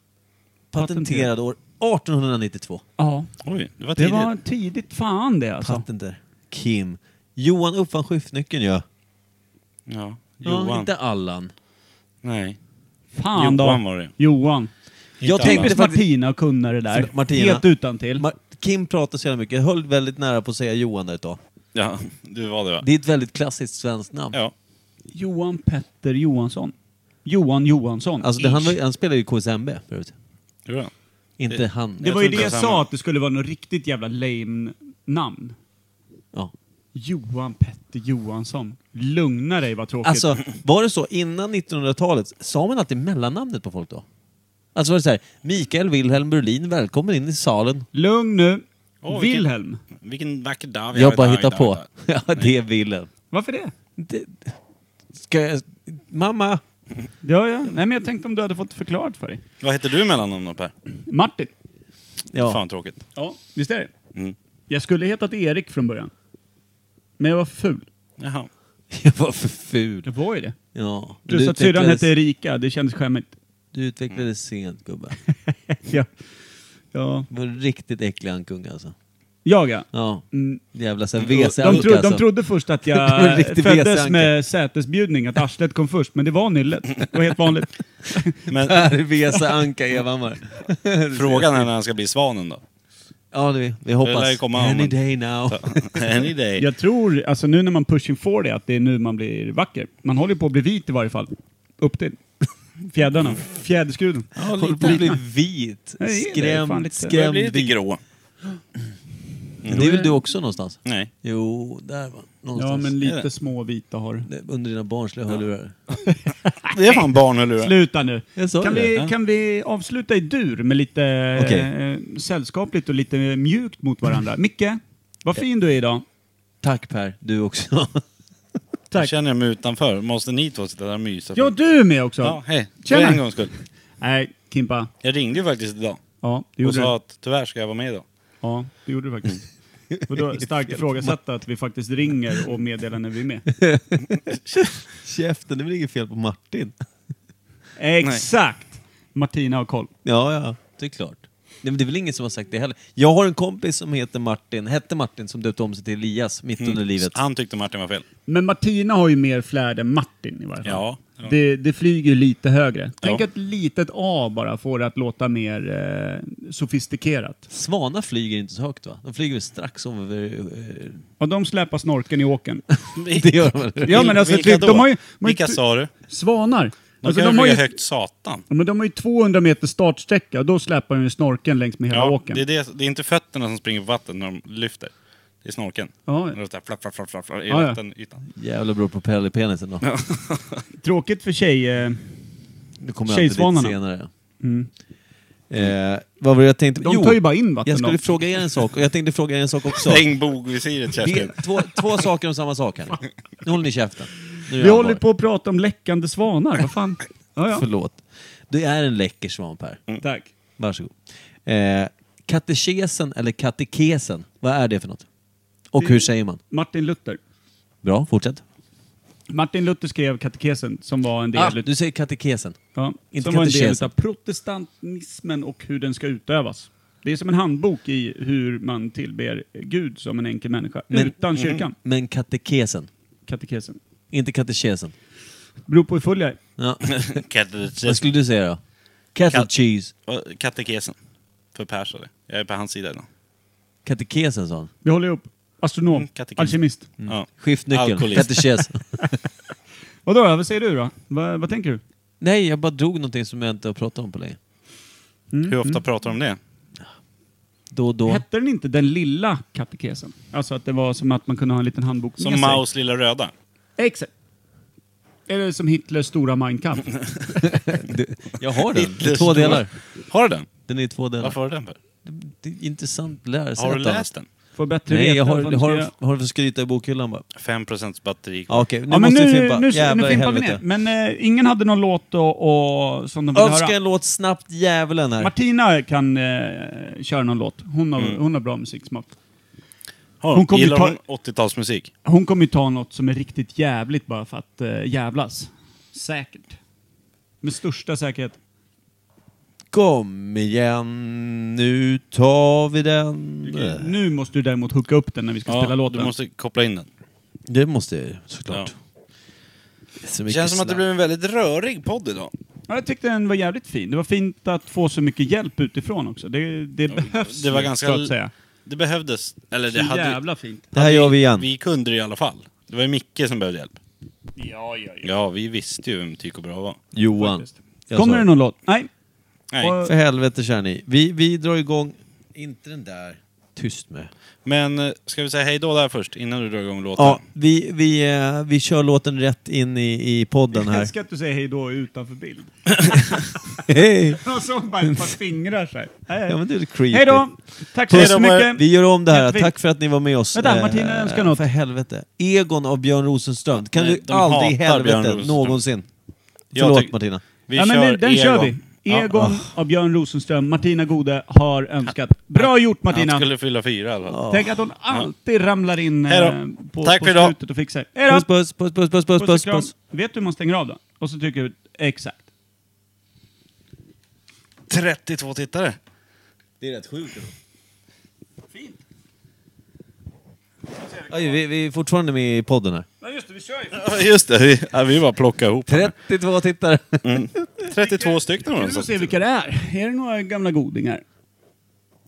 Speaker 1: patenterad år 1892.
Speaker 2: Ja.
Speaker 3: Oj, det var
Speaker 2: Det
Speaker 3: tidigt.
Speaker 2: var tidigt fan det alltså.
Speaker 1: Patenter. Kim. Johan uppfann skiftnyckeln ja.
Speaker 3: Ja,
Speaker 1: ja.
Speaker 3: Johan.
Speaker 1: Inte Allan.
Speaker 3: Nej.
Speaker 2: Fan
Speaker 3: Johan
Speaker 2: då.
Speaker 3: var det.
Speaker 2: Johan.
Speaker 1: Jag
Speaker 3: Inte
Speaker 1: tänkte
Speaker 2: Visst
Speaker 1: faktiskt...
Speaker 2: Martina och kunna det där.
Speaker 1: Förlåt, Martina.
Speaker 2: Helt utan till.
Speaker 1: Ma- Kim pratar så jävla mycket. Jag höll väldigt nära på att säga Johan där ett tag.
Speaker 3: Ja, du var det va?
Speaker 1: Det är ett väldigt klassiskt svenskt namn.
Speaker 3: Ja.
Speaker 2: Johan Petter Johansson. Johan Johansson.
Speaker 1: Alltså, det, han, var- han spelade ju KSMB förut.
Speaker 3: det var det.
Speaker 1: Inte han.
Speaker 2: det
Speaker 3: jag
Speaker 2: var ju
Speaker 3: tror
Speaker 2: det
Speaker 3: inte
Speaker 2: jag
Speaker 3: samma.
Speaker 2: sa, att det skulle vara något riktigt jävla lame namn.
Speaker 1: Ja.
Speaker 2: Johan Petter Johansson. Lugna dig vad tråkigt.
Speaker 1: Alltså, var det så innan 1900-talet? Sa man alltid mellannamnet på folk då? Alltså var det så här, Mikael Wilhelm Berlin, välkommen in i salen.
Speaker 2: Lugn nu.
Speaker 3: Åh, vilken-
Speaker 2: Wilhelm.
Speaker 3: Vilken vacker dag vi
Speaker 1: Jag
Speaker 3: har
Speaker 1: bara
Speaker 3: idag,
Speaker 1: hittar
Speaker 3: idag,
Speaker 1: på.
Speaker 3: idag.
Speaker 1: [laughs] Ja, det är Wilhelm.
Speaker 2: Varför det?
Speaker 1: Det, ska jag... Mamma!
Speaker 2: Ja, ja. Nej, men jag tänkte om du hade fått förklarat för dig.
Speaker 3: Vad heter du i mellannamn då Per?
Speaker 2: Martin.
Speaker 1: Ja.
Speaker 3: Fan tråkigt.
Speaker 2: Ja, visst är det?
Speaker 3: Mm.
Speaker 2: Jag skulle hetat Erik från början. Men jag var ful. [laughs]
Speaker 3: Jaha.
Speaker 1: [laughs] Jag var för ful.
Speaker 2: Jag var ju det.
Speaker 1: Ja.
Speaker 2: Plus att syrran hette Erika, det kändes skämmigt. [laughs]
Speaker 1: du utvecklades sent gubbe.
Speaker 2: ja. Ja.
Speaker 1: Du var en riktigt äcklig ankung alltså.
Speaker 2: Jag ja.
Speaker 1: Ja.
Speaker 2: Mm.
Speaker 1: Jävla sån
Speaker 2: De,
Speaker 1: wc
Speaker 2: tro,
Speaker 1: alltså.
Speaker 2: de trodde först att
Speaker 1: Det var en
Speaker 2: jag
Speaker 1: riktig
Speaker 2: föddes
Speaker 1: WC-anka.
Speaker 2: med sätesbjudning, att arslet kom först, men det var nyllet. Det var helt vanligt.
Speaker 1: [laughs] [laughs]
Speaker 3: Men
Speaker 1: Här är Vesa Anka Evhammar.
Speaker 3: frågan är när han ska bli svanen då?
Speaker 1: [laughs] Ja, det vi, vi
Speaker 3: Det lär ju
Speaker 1: hoppas.
Speaker 3: komma om
Speaker 1: Any
Speaker 3: en-
Speaker 1: day now.
Speaker 3: [laughs] Any day.
Speaker 2: Jag tror, alltså nu när man pushing for det, att det är nu man blir vacker. Man håller ju på att bli vit i varje fall. Upp till
Speaker 1: [laughs]
Speaker 2: fjädrarna. Fjäderskruden.
Speaker 1: [laughs] Håller på att bli vit.
Speaker 2: Nej, det är fan
Speaker 1: Skrämd,
Speaker 2: lite-
Speaker 3: Jag börjar bli
Speaker 1: skrämd
Speaker 3: lite Mm.
Speaker 1: vit.
Speaker 3: grå.
Speaker 1: Det är väl du också någonstans?
Speaker 3: Nej.
Speaker 1: Jo, där var
Speaker 2: Ja,
Speaker 1: någonstans.
Speaker 2: men
Speaker 3: Är
Speaker 2: lite
Speaker 3: det?
Speaker 2: små vita har
Speaker 1: Det- Under dina barnsliga hörlurar.
Speaker 3: Det är fan barnhörlurar.
Speaker 2: Sluta nu.
Speaker 1: Jag sa
Speaker 2: Kan
Speaker 1: det.
Speaker 2: vi,
Speaker 1: Ja.
Speaker 2: kan vi avsluta i dur med lite
Speaker 1: Okej.
Speaker 2: eh, sällskapligt och lite mjukt mot
Speaker 3: [laughs]
Speaker 2: varandra? Micke, vad fin du är idag.
Speaker 1: Tack Per, du också. [laughs]
Speaker 3: Jag känner jag mig utanför. Måste ni två sitta där och mysa?
Speaker 2: Ja, du är med också.
Speaker 3: Ja, hej. För
Speaker 2: Tjena.
Speaker 3: en gångs skull.
Speaker 2: Nej, Kimpa.
Speaker 3: Jag ringde ju faktiskt idag
Speaker 2: Ja, det
Speaker 3: och
Speaker 2: gjorde
Speaker 3: sa
Speaker 2: du.
Speaker 3: att tyvärr ska jag vara med idag.
Speaker 2: Ja, det gjorde du
Speaker 3: [laughs]
Speaker 2: faktiskt. Och då starkt ifrågasatta att vi faktiskt ringer och meddelar när vi
Speaker 3: [laughs]
Speaker 2: är med.
Speaker 1: Käften, det är väl inget fel på Martin?
Speaker 2: Exakt! Martina har koll.
Speaker 1: Ja, ja, det är klart. Nej, men det är väl ingen som har sagt det heller. Jag har en kompis som heter Martin, hette Martin, som döpte om sig till Elias mitt under livet.
Speaker 3: Mm. Han tyckte Martin var fel.
Speaker 2: Men Martina har ju mer flärd än Martin i varje fall.
Speaker 3: Ja.
Speaker 2: Det, det flyger ju lite högre. Tänk att ett litet A bara får det att låta mer eh, sofistikerat.
Speaker 1: Svanar flyger inte så högt va? De flyger väl strax över... eh,
Speaker 2: Och de släpar snorken i åken.
Speaker 1: Det gör de väl?
Speaker 2: Ja, men alltså,
Speaker 3: Vilka
Speaker 2: typ,
Speaker 3: då?
Speaker 2: de har ju- de har ju
Speaker 3: Vilka
Speaker 2: t-
Speaker 3: sa du?
Speaker 2: Svanar.
Speaker 3: De
Speaker 2: alltså, de,
Speaker 3: kan ju
Speaker 2: har ju,
Speaker 3: flyga högt satan.
Speaker 2: ja, men de har ju 200 meter startsträcka och då släpar de ju snorken längs med hela
Speaker 3: Ja,
Speaker 2: åken.
Speaker 3: det, är det, det är inte fötterna som springer på vatten när de lyfter. Det är snorkeln.
Speaker 2: Ja.
Speaker 3: När de så här flapp, flapp, flapp, flapp, flapp, i
Speaker 2: Ja, ja.
Speaker 3: vattenytan.
Speaker 1: [laughs] Jävla bra propell i penisen då.
Speaker 2: Tråkigt för tjej... Eh,
Speaker 1: Nu kommer jag alltid dit
Speaker 2: Tjejsvanarna. Mm.
Speaker 1: senare. Eh, vad var det jag tänkte?
Speaker 2: de tar ju bara in vatten
Speaker 1: jag skulle
Speaker 2: då.
Speaker 1: fråga er en sak och jag tänkte fråga er en sak
Speaker 2: [laughs]
Speaker 1: också.
Speaker 3: Stäng bogvisiret Kerstin.
Speaker 1: Helt- två, två saker om samma sak här. Nu håller ni käften. Nu är
Speaker 2: Vi
Speaker 1: det
Speaker 2: håller
Speaker 1: allvar.
Speaker 2: på att prata om läckande svanar. Vad fan? Ja, Mm. ja.
Speaker 1: Förlåt. Du är en läcker svamp här.
Speaker 2: Tack.
Speaker 1: Varsågod. Eh, katekesen eller katekesen, vad är det för något? Och hur säger man?
Speaker 2: Martin Luther.
Speaker 1: Bra, fortsätt.
Speaker 2: Martin Luther skrev katekesen som var en del,
Speaker 1: Ah,
Speaker 2: ut-
Speaker 1: du säger katekesen.
Speaker 2: ja,
Speaker 1: inte
Speaker 2: som var en del
Speaker 1: katekesen.
Speaker 2: utav protestantismen och hur den ska utövas. Det är som en handbok i hur man tillber Gud som en enkel människa,
Speaker 1: Men-
Speaker 2: utan kyrkan.
Speaker 1: Men katekesen,
Speaker 2: Katekesen.
Speaker 1: inte katekesen.
Speaker 2: Beror på hur full jag är.
Speaker 3: [laughs]
Speaker 1: Ja. Vad
Speaker 3: Katekesen.
Speaker 1: skulle du säga då? Kettle
Speaker 3: Kat-
Speaker 1: cheese. Katekesen.
Speaker 3: Katekesen. Förpersade. Jag är på hans sida idag.
Speaker 1: Katekesen sa han.
Speaker 2: Vi håller ihop. Astronom.
Speaker 3: Mm, katekes.
Speaker 2: Alkemist.
Speaker 3: Ja.
Speaker 1: Skiftnyckeln.
Speaker 3: Alkoholist. [laughs]
Speaker 1: Katekes.
Speaker 2: Vadå då? Vad säger du då? Vad- vad tänker du?
Speaker 1: Nej, jag bara drog någonting som jag inte har pratat om på länge.
Speaker 2: Mm,
Speaker 3: Hur ofta pratar de om det?
Speaker 1: Då och då.
Speaker 2: Hette den inte den lilla katekesen? Alltså att det var som att man kunde ha en liten handbok med
Speaker 3: Som
Speaker 2: sig.
Speaker 3: Maos lilla röda.
Speaker 2: Exakt. Eller som Hitlers stora Mein Kampf.
Speaker 1: [laughs] Jag har den. I
Speaker 3: Hitlers
Speaker 1: två
Speaker 3: stora-
Speaker 1: delar.
Speaker 3: Har du den?
Speaker 1: Den är i två delar.
Speaker 3: Varför har du den för?
Speaker 1: Det är intressant att lära sig
Speaker 3: Har du
Speaker 1: något annat.
Speaker 3: läst den?
Speaker 2: Får bättre
Speaker 1: Nej,
Speaker 2: veta
Speaker 1: jag har,
Speaker 2: vad fan
Speaker 1: har,
Speaker 2: ska jag-
Speaker 1: har för skryta i bokhyllan bara.
Speaker 3: 5% batteri kvar.
Speaker 1: Ja, okej, nu
Speaker 2: Ja, men
Speaker 1: måste
Speaker 2: nu,
Speaker 1: vi
Speaker 2: nu,
Speaker 1: fimpa.
Speaker 2: nu,
Speaker 1: Jävlar i
Speaker 2: fimpar vi ner.
Speaker 1: helvete.
Speaker 2: Men eh, ingen hade någon låt och, och, som de ville
Speaker 1: Önska en
Speaker 2: höra.
Speaker 1: låt snabbt, djävulen här.
Speaker 2: Martina kan eh, köra någon låt. Hon har, hon har bra musiksmak.
Speaker 3: Har
Speaker 2: Hon
Speaker 3: hon
Speaker 2: kommer
Speaker 3: Gillar
Speaker 2: ta-
Speaker 3: hon 80-talsmusik?
Speaker 2: Hon kommer ju ta något som är riktigt jävligt bara för att eh, jävlas. Säkert. Med största säkerhet.
Speaker 1: Kom igen, nu tar vi den.
Speaker 2: Nu måste du däremot hooka upp den när vi ska spela
Speaker 3: Ja,
Speaker 2: låten.
Speaker 3: du måste koppla in den.
Speaker 1: Det måste jag ju, såklart.
Speaker 3: Ja.
Speaker 1: Så
Speaker 3: Det
Speaker 1: mycket
Speaker 3: känns som att det
Speaker 1: slarv.
Speaker 3: blev en väldigt rörig podd idag.
Speaker 2: Ja, jag tyckte den var jävligt fin. Det var fint att få så mycket hjälp utifrån också. Det, det behövs
Speaker 3: det var
Speaker 2: ju,
Speaker 3: ganska
Speaker 2: så att säga.
Speaker 3: Det behövdes. Eller det
Speaker 2: Så
Speaker 3: hade...
Speaker 2: jävla fint.
Speaker 1: Det här gör vi igen.
Speaker 3: Vi kunde det i alla fall. Det var ju Micke som behövde hjälp.
Speaker 2: Ja, ja, ja.
Speaker 3: Ja, vi visste ju vem Tycho Brahe var.
Speaker 1: Johan.
Speaker 2: faktiskt.
Speaker 1: jag
Speaker 2: Kommer
Speaker 1: sa
Speaker 2: det någon låt? Nej.
Speaker 3: Nej.
Speaker 2: Och-
Speaker 1: För helvete kör ni. Vi, vi drar igång... Inte den där. Tyst med.
Speaker 3: Men eh, ska vi säga hej då där först, innan du drar igång låten?
Speaker 1: Ja, vi, vi, eh, vi kör låten rätt in i, i podden
Speaker 2: Jag
Speaker 1: här.
Speaker 2: älskar att du säger hej då utanför bild.
Speaker 1: [laughs]
Speaker 2: [laughs]
Speaker 1: Hej!
Speaker 2: Och så bara ett par fingrar så här. Hej,
Speaker 1: Ja
Speaker 2: hej.
Speaker 1: men det är creepy.
Speaker 2: Hej då! Tack
Speaker 3: Hej
Speaker 2: så
Speaker 3: då,
Speaker 2: mycket!
Speaker 1: Vi gör om det här.
Speaker 2: Jättefint.
Speaker 1: Tack för att ni var med oss.
Speaker 2: Vänta, Martina
Speaker 1: Eh,
Speaker 2: önskar något.
Speaker 1: För helvete. Egon av Björn Rosenström. Kan
Speaker 3: Nej,
Speaker 1: du
Speaker 3: de
Speaker 1: aldrig i
Speaker 3: hatar Björn
Speaker 1: helvete
Speaker 3: Rosenström.
Speaker 1: någonsin.
Speaker 3: Jag
Speaker 1: Förlåt
Speaker 3: tyck-
Speaker 1: Martina.
Speaker 3: Vi
Speaker 2: ja,
Speaker 3: kör
Speaker 2: men vi, den
Speaker 3: Egon.
Speaker 2: kör vi. Egon av Björn Rosenström, Martina Gode har önskat. Bra gjort Martina!
Speaker 3: Han skulle fylla fyra i alla fall.
Speaker 2: Tänk att hon alltid ramlar in eh,
Speaker 3: Hej då.
Speaker 2: på,
Speaker 3: Tack
Speaker 2: på
Speaker 3: för idag.
Speaker 2: slutet och fixar. Hej då!
Speaker 1: Puss puss puss puss puss puss
Speaker 2: Puss och
Speaker 1: puss.
Speaker 2: kram.
Speaker 1: puss.
Speaker 2: Vet du hur man stänger av då? Och så trycker du exakt.
Speaker 3: 32 tittare.
Speaker 1: Det är rätt sjukt Oj, vi, vi är fortfarande med i podden här.
Speaker 2: Ja just det, vi kör ju.
Speaker 3: Ja, Just det, vi, ja, vi bara plockar ihop.
Speaker 1: [laughs] 32 tittare.
Speaker 3: Mm. 32 stycken
Speaker 2: Vi får
Speaker 3: har de
Speaker 2: se
Speaker 3: sålt.
Speaker 2: vilka det är. Är det några gamla godingar?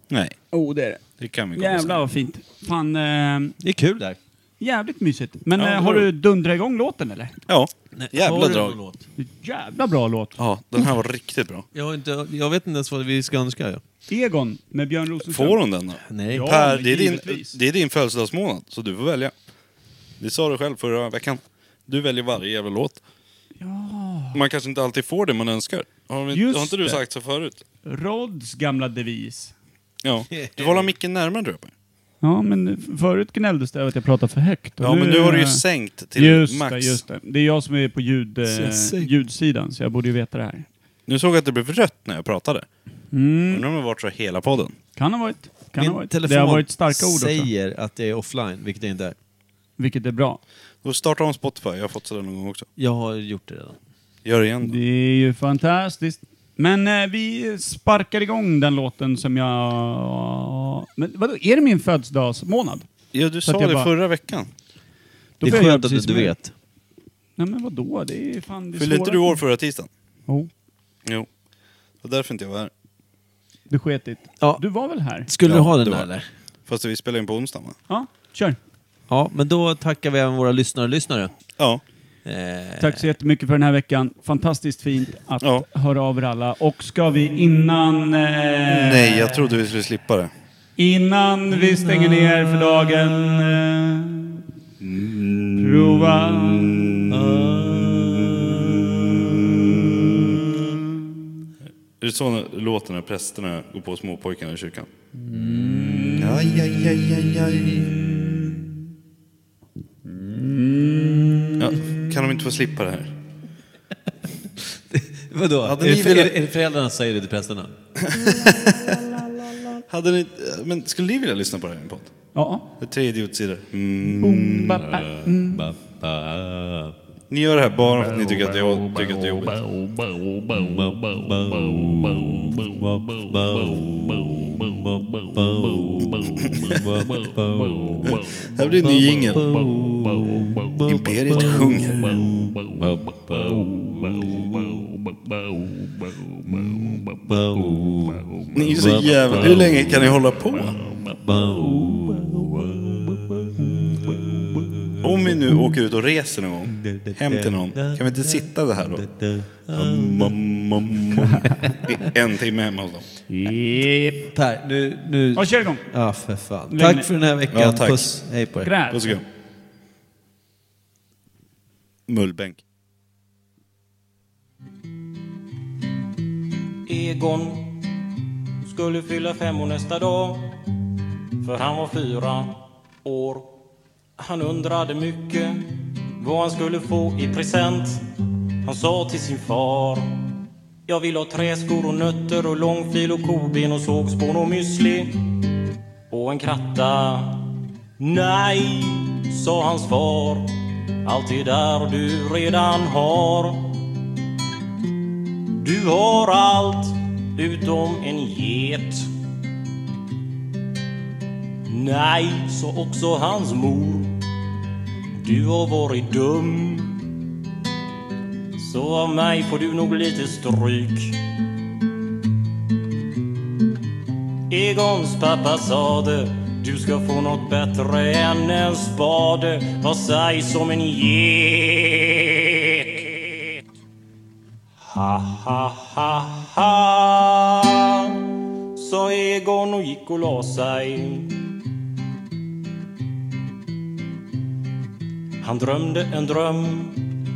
Speaker 3: Nej,
Speaker 2: Oh, det är det.
Speaker 3: det kan vi komma
Speaker 2: Jävlar
Speaker 3: sen.
Speaker 2: vad fint. Fan, eh,
Speaker 1: Det är kul där.
Speaker 2: jävligt mysigt. Men
Speaker 3: Ja, det
Speaker 2: eh,
Speaker 3: var
Speaker 2: har du
Speaker 3: det.
Speaker 2: dundrat igång låten eller?
Speaker 3: Ja, jävla
Speaker 1: Har du någon
Speaker 3: drag.
Speaker 1: låt?
Speaker 2: Jävla bra låt.
Speaker 3: Ja, den här var riktigt bra.
Speaker 1: Jag, har inte, jag vet inte ens vad vi ska önska. Ja.
Speaker 2: Egon med Björn Rosenström.
Speaker 3: Får hon den då?
Speaker 1: Nej.
Speaker 2: Ja,
Speaker 3: per,
Speaker 2: men
Speaker 3: det, är din,
Speaker 2: givetvis.
Speaker 3: det är din födelsedagsmånad, så du får välja. Det sa du själv förra veckan. Du väljer varje jävla låt. Ja. Man kanske inte alltid får det man önskar. Har, vi,
Speaker 2: Just
Speaker 3: har inte du
Speaker 2: det.
Speaker 3: sagt så förut?
Speaker 2: Rods gamla devis.
Speaker 3: Ja. Du får hålla micken närmare tror jag.
Speaker 2: Ja, men förut gnälldes det över att jag pratade för högt. och
Speaker 3: Ja, men nu har du ju
Speaker 2: eh,
Speaker 3: sänkt till
Speaker 2: just
Speaker 3: max.
Speaker 2: Det, just det. det är jag som är på ljud, eh, ljudsidan, så jag borde ju veta det här.
Speaker 3: Nu såg jag att det blev rött när jag pratade.
Speaker 2: Mm.
Speaker 3: Undrar om det har varit så hela podden.
Speaker 2: Kan ha varit. Kan ha
Speaker 1: Min
Speaker 2: varit.
Speaker 1: telefon
Speaker 2: Det har varit starka ord också.
Speaker 1: säger att jag är offline, vilket jag inte är.
Speaker 2: Vilket är bra.
Speaker 3: Då startar om Spotify, jag har fått sådär någon gång också.
Speaker 1: Jag har gjort det redan.
Speaker 3: Gör det igen
Speaker 2: Det
Speaker 3: då.
Speaker 2: är ju fantastiskt. Men eh, vi sparkar igång den låten som jag... Men vadå, är det min födelsedagsmånad?
Speaker 3: Ja, du
Speaker 2: Så att
Speaker 3: sa
Speaker 2: jag
Speaker 3: det
Speaker 2: bara-
Speaker 3: förra veckan.
Speaker 2: Då
Speaker 1: det
Speaker 2: får
Speaker 1: är
Speaker 2: jag göra
Speaker 1: skönt att du
Speaker 2: precis
Speaker 1: inte
Speaker 2: som jag.
Speaker 1: vet.
Speaker 2: Nej men vadå, det är fan det
Speaker 3: Fyllde inte du år förra tisdagen?
Speaker 2: Jo,
Speaker 3: Jo. Det var därför inte jag var här.
Speaker 2: du sketit.
Speaker 1: Ja.
Speaker 2: Du var väl här?
Speaker 1: Skulle
Speaker 3: Ja,
Speaker 1: du ha den
Speaker 3: det
Speaker 1: där
Speaker 3: var-
Speaker 1: eller?
Speaker 3: Fast vi spelar in på onsdagen va?
Speaker 2: Ja, kör.
Speaker 1: Ja, men då tackar vi även våra lyssnare och lyssnare.
Speaker 3: Ja.
Speaker 1: Eh,
Speaker 2: Tack så jättemycket för den här veckan. Fantastiskt fint att
Speaker 3: Ja.
Speaker 2: höra av er alla. Och ska vi innan... Eh,
Speaker 3: Nej, jag trodde vi skulle slippa det.
Speaker 2: Innan vi stänger ner för dagen eh, Prova
Speaker 3: Är det så när- låter när prästerna går på småpojkarna i kyrkan? Mm. Aj, aj, aj, aj, aj. Ja, kan de inte få slippa det här?
Speaker 1: vadå? Är
Speaker 3: Hade
Speaker 1: det,
Speaker 3: ni
Speaker 1: för,
Speaker 3: velat-
Speaker 1: är det föräldrarna som säger det till prästerna?
Speaker 3: Hade ni... Men skulle ni vilja lyssna på det här i en podd?
Speaker 2: Ja.
Speaker 3: Det är Tre idiotsidor. Mm.
Speaker 2: Boom, ba, mm. ba.
Speaker 3: Ni gör det här bara för att ni tycker att jag tycker att det är jobbigt. Det här blir en ny jingel. Imperiet sjunger. Ni är så jävla... Hur länge kan ni hålla på? Om vi nu åker ut och reser någon gång, hem till någon, kan vi inte sitta så här då? I en timme hemma hos dem.
Speaker 2: Yep.
Speaker 1: Per, nu... nu...
Speaker 2: Ja, kör igång.
Speaker 1: Ja, för fan.
Speaker 2: Lägg ner.
Speaker 1: Tack för den här veckan.
Speaker 3: Ja, tack.
Speaker 1: Puss. Hej på er.
Speaker 2: Gräv.
Speaker 3: Puss och kram. Mullbänk.
Speaker 6: Egon skulle fylla fem år nästa dag för han var fyra år. Han undrade mycket vad han skulle få i present. Han sa till sin far Jag vill ha träskor och nötter och långfil och koben och sågspån och müsli och en kratta. Nej, sa hans far. Allt det där du redan har. Du har allt utom en get. Nej, sa också hans mor. Du har varit dum. Så av mig får du nog lite stryk. Egons pappa sade du ska få något bättre än en spade. Vad sägs om en get? Ha, ha, ha, ha Sa Egon och gick och la sig Han drömde en dröm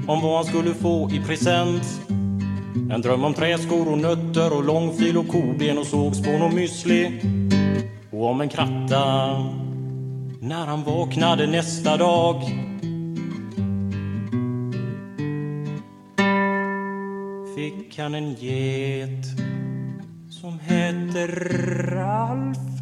Speaker 6: om vad han skulle få i present En dröm om träskor och nötter och långfil och koben och sågspån och müsli och om en kratta När han vaknade nästa dag fick han en get som heter Ralf.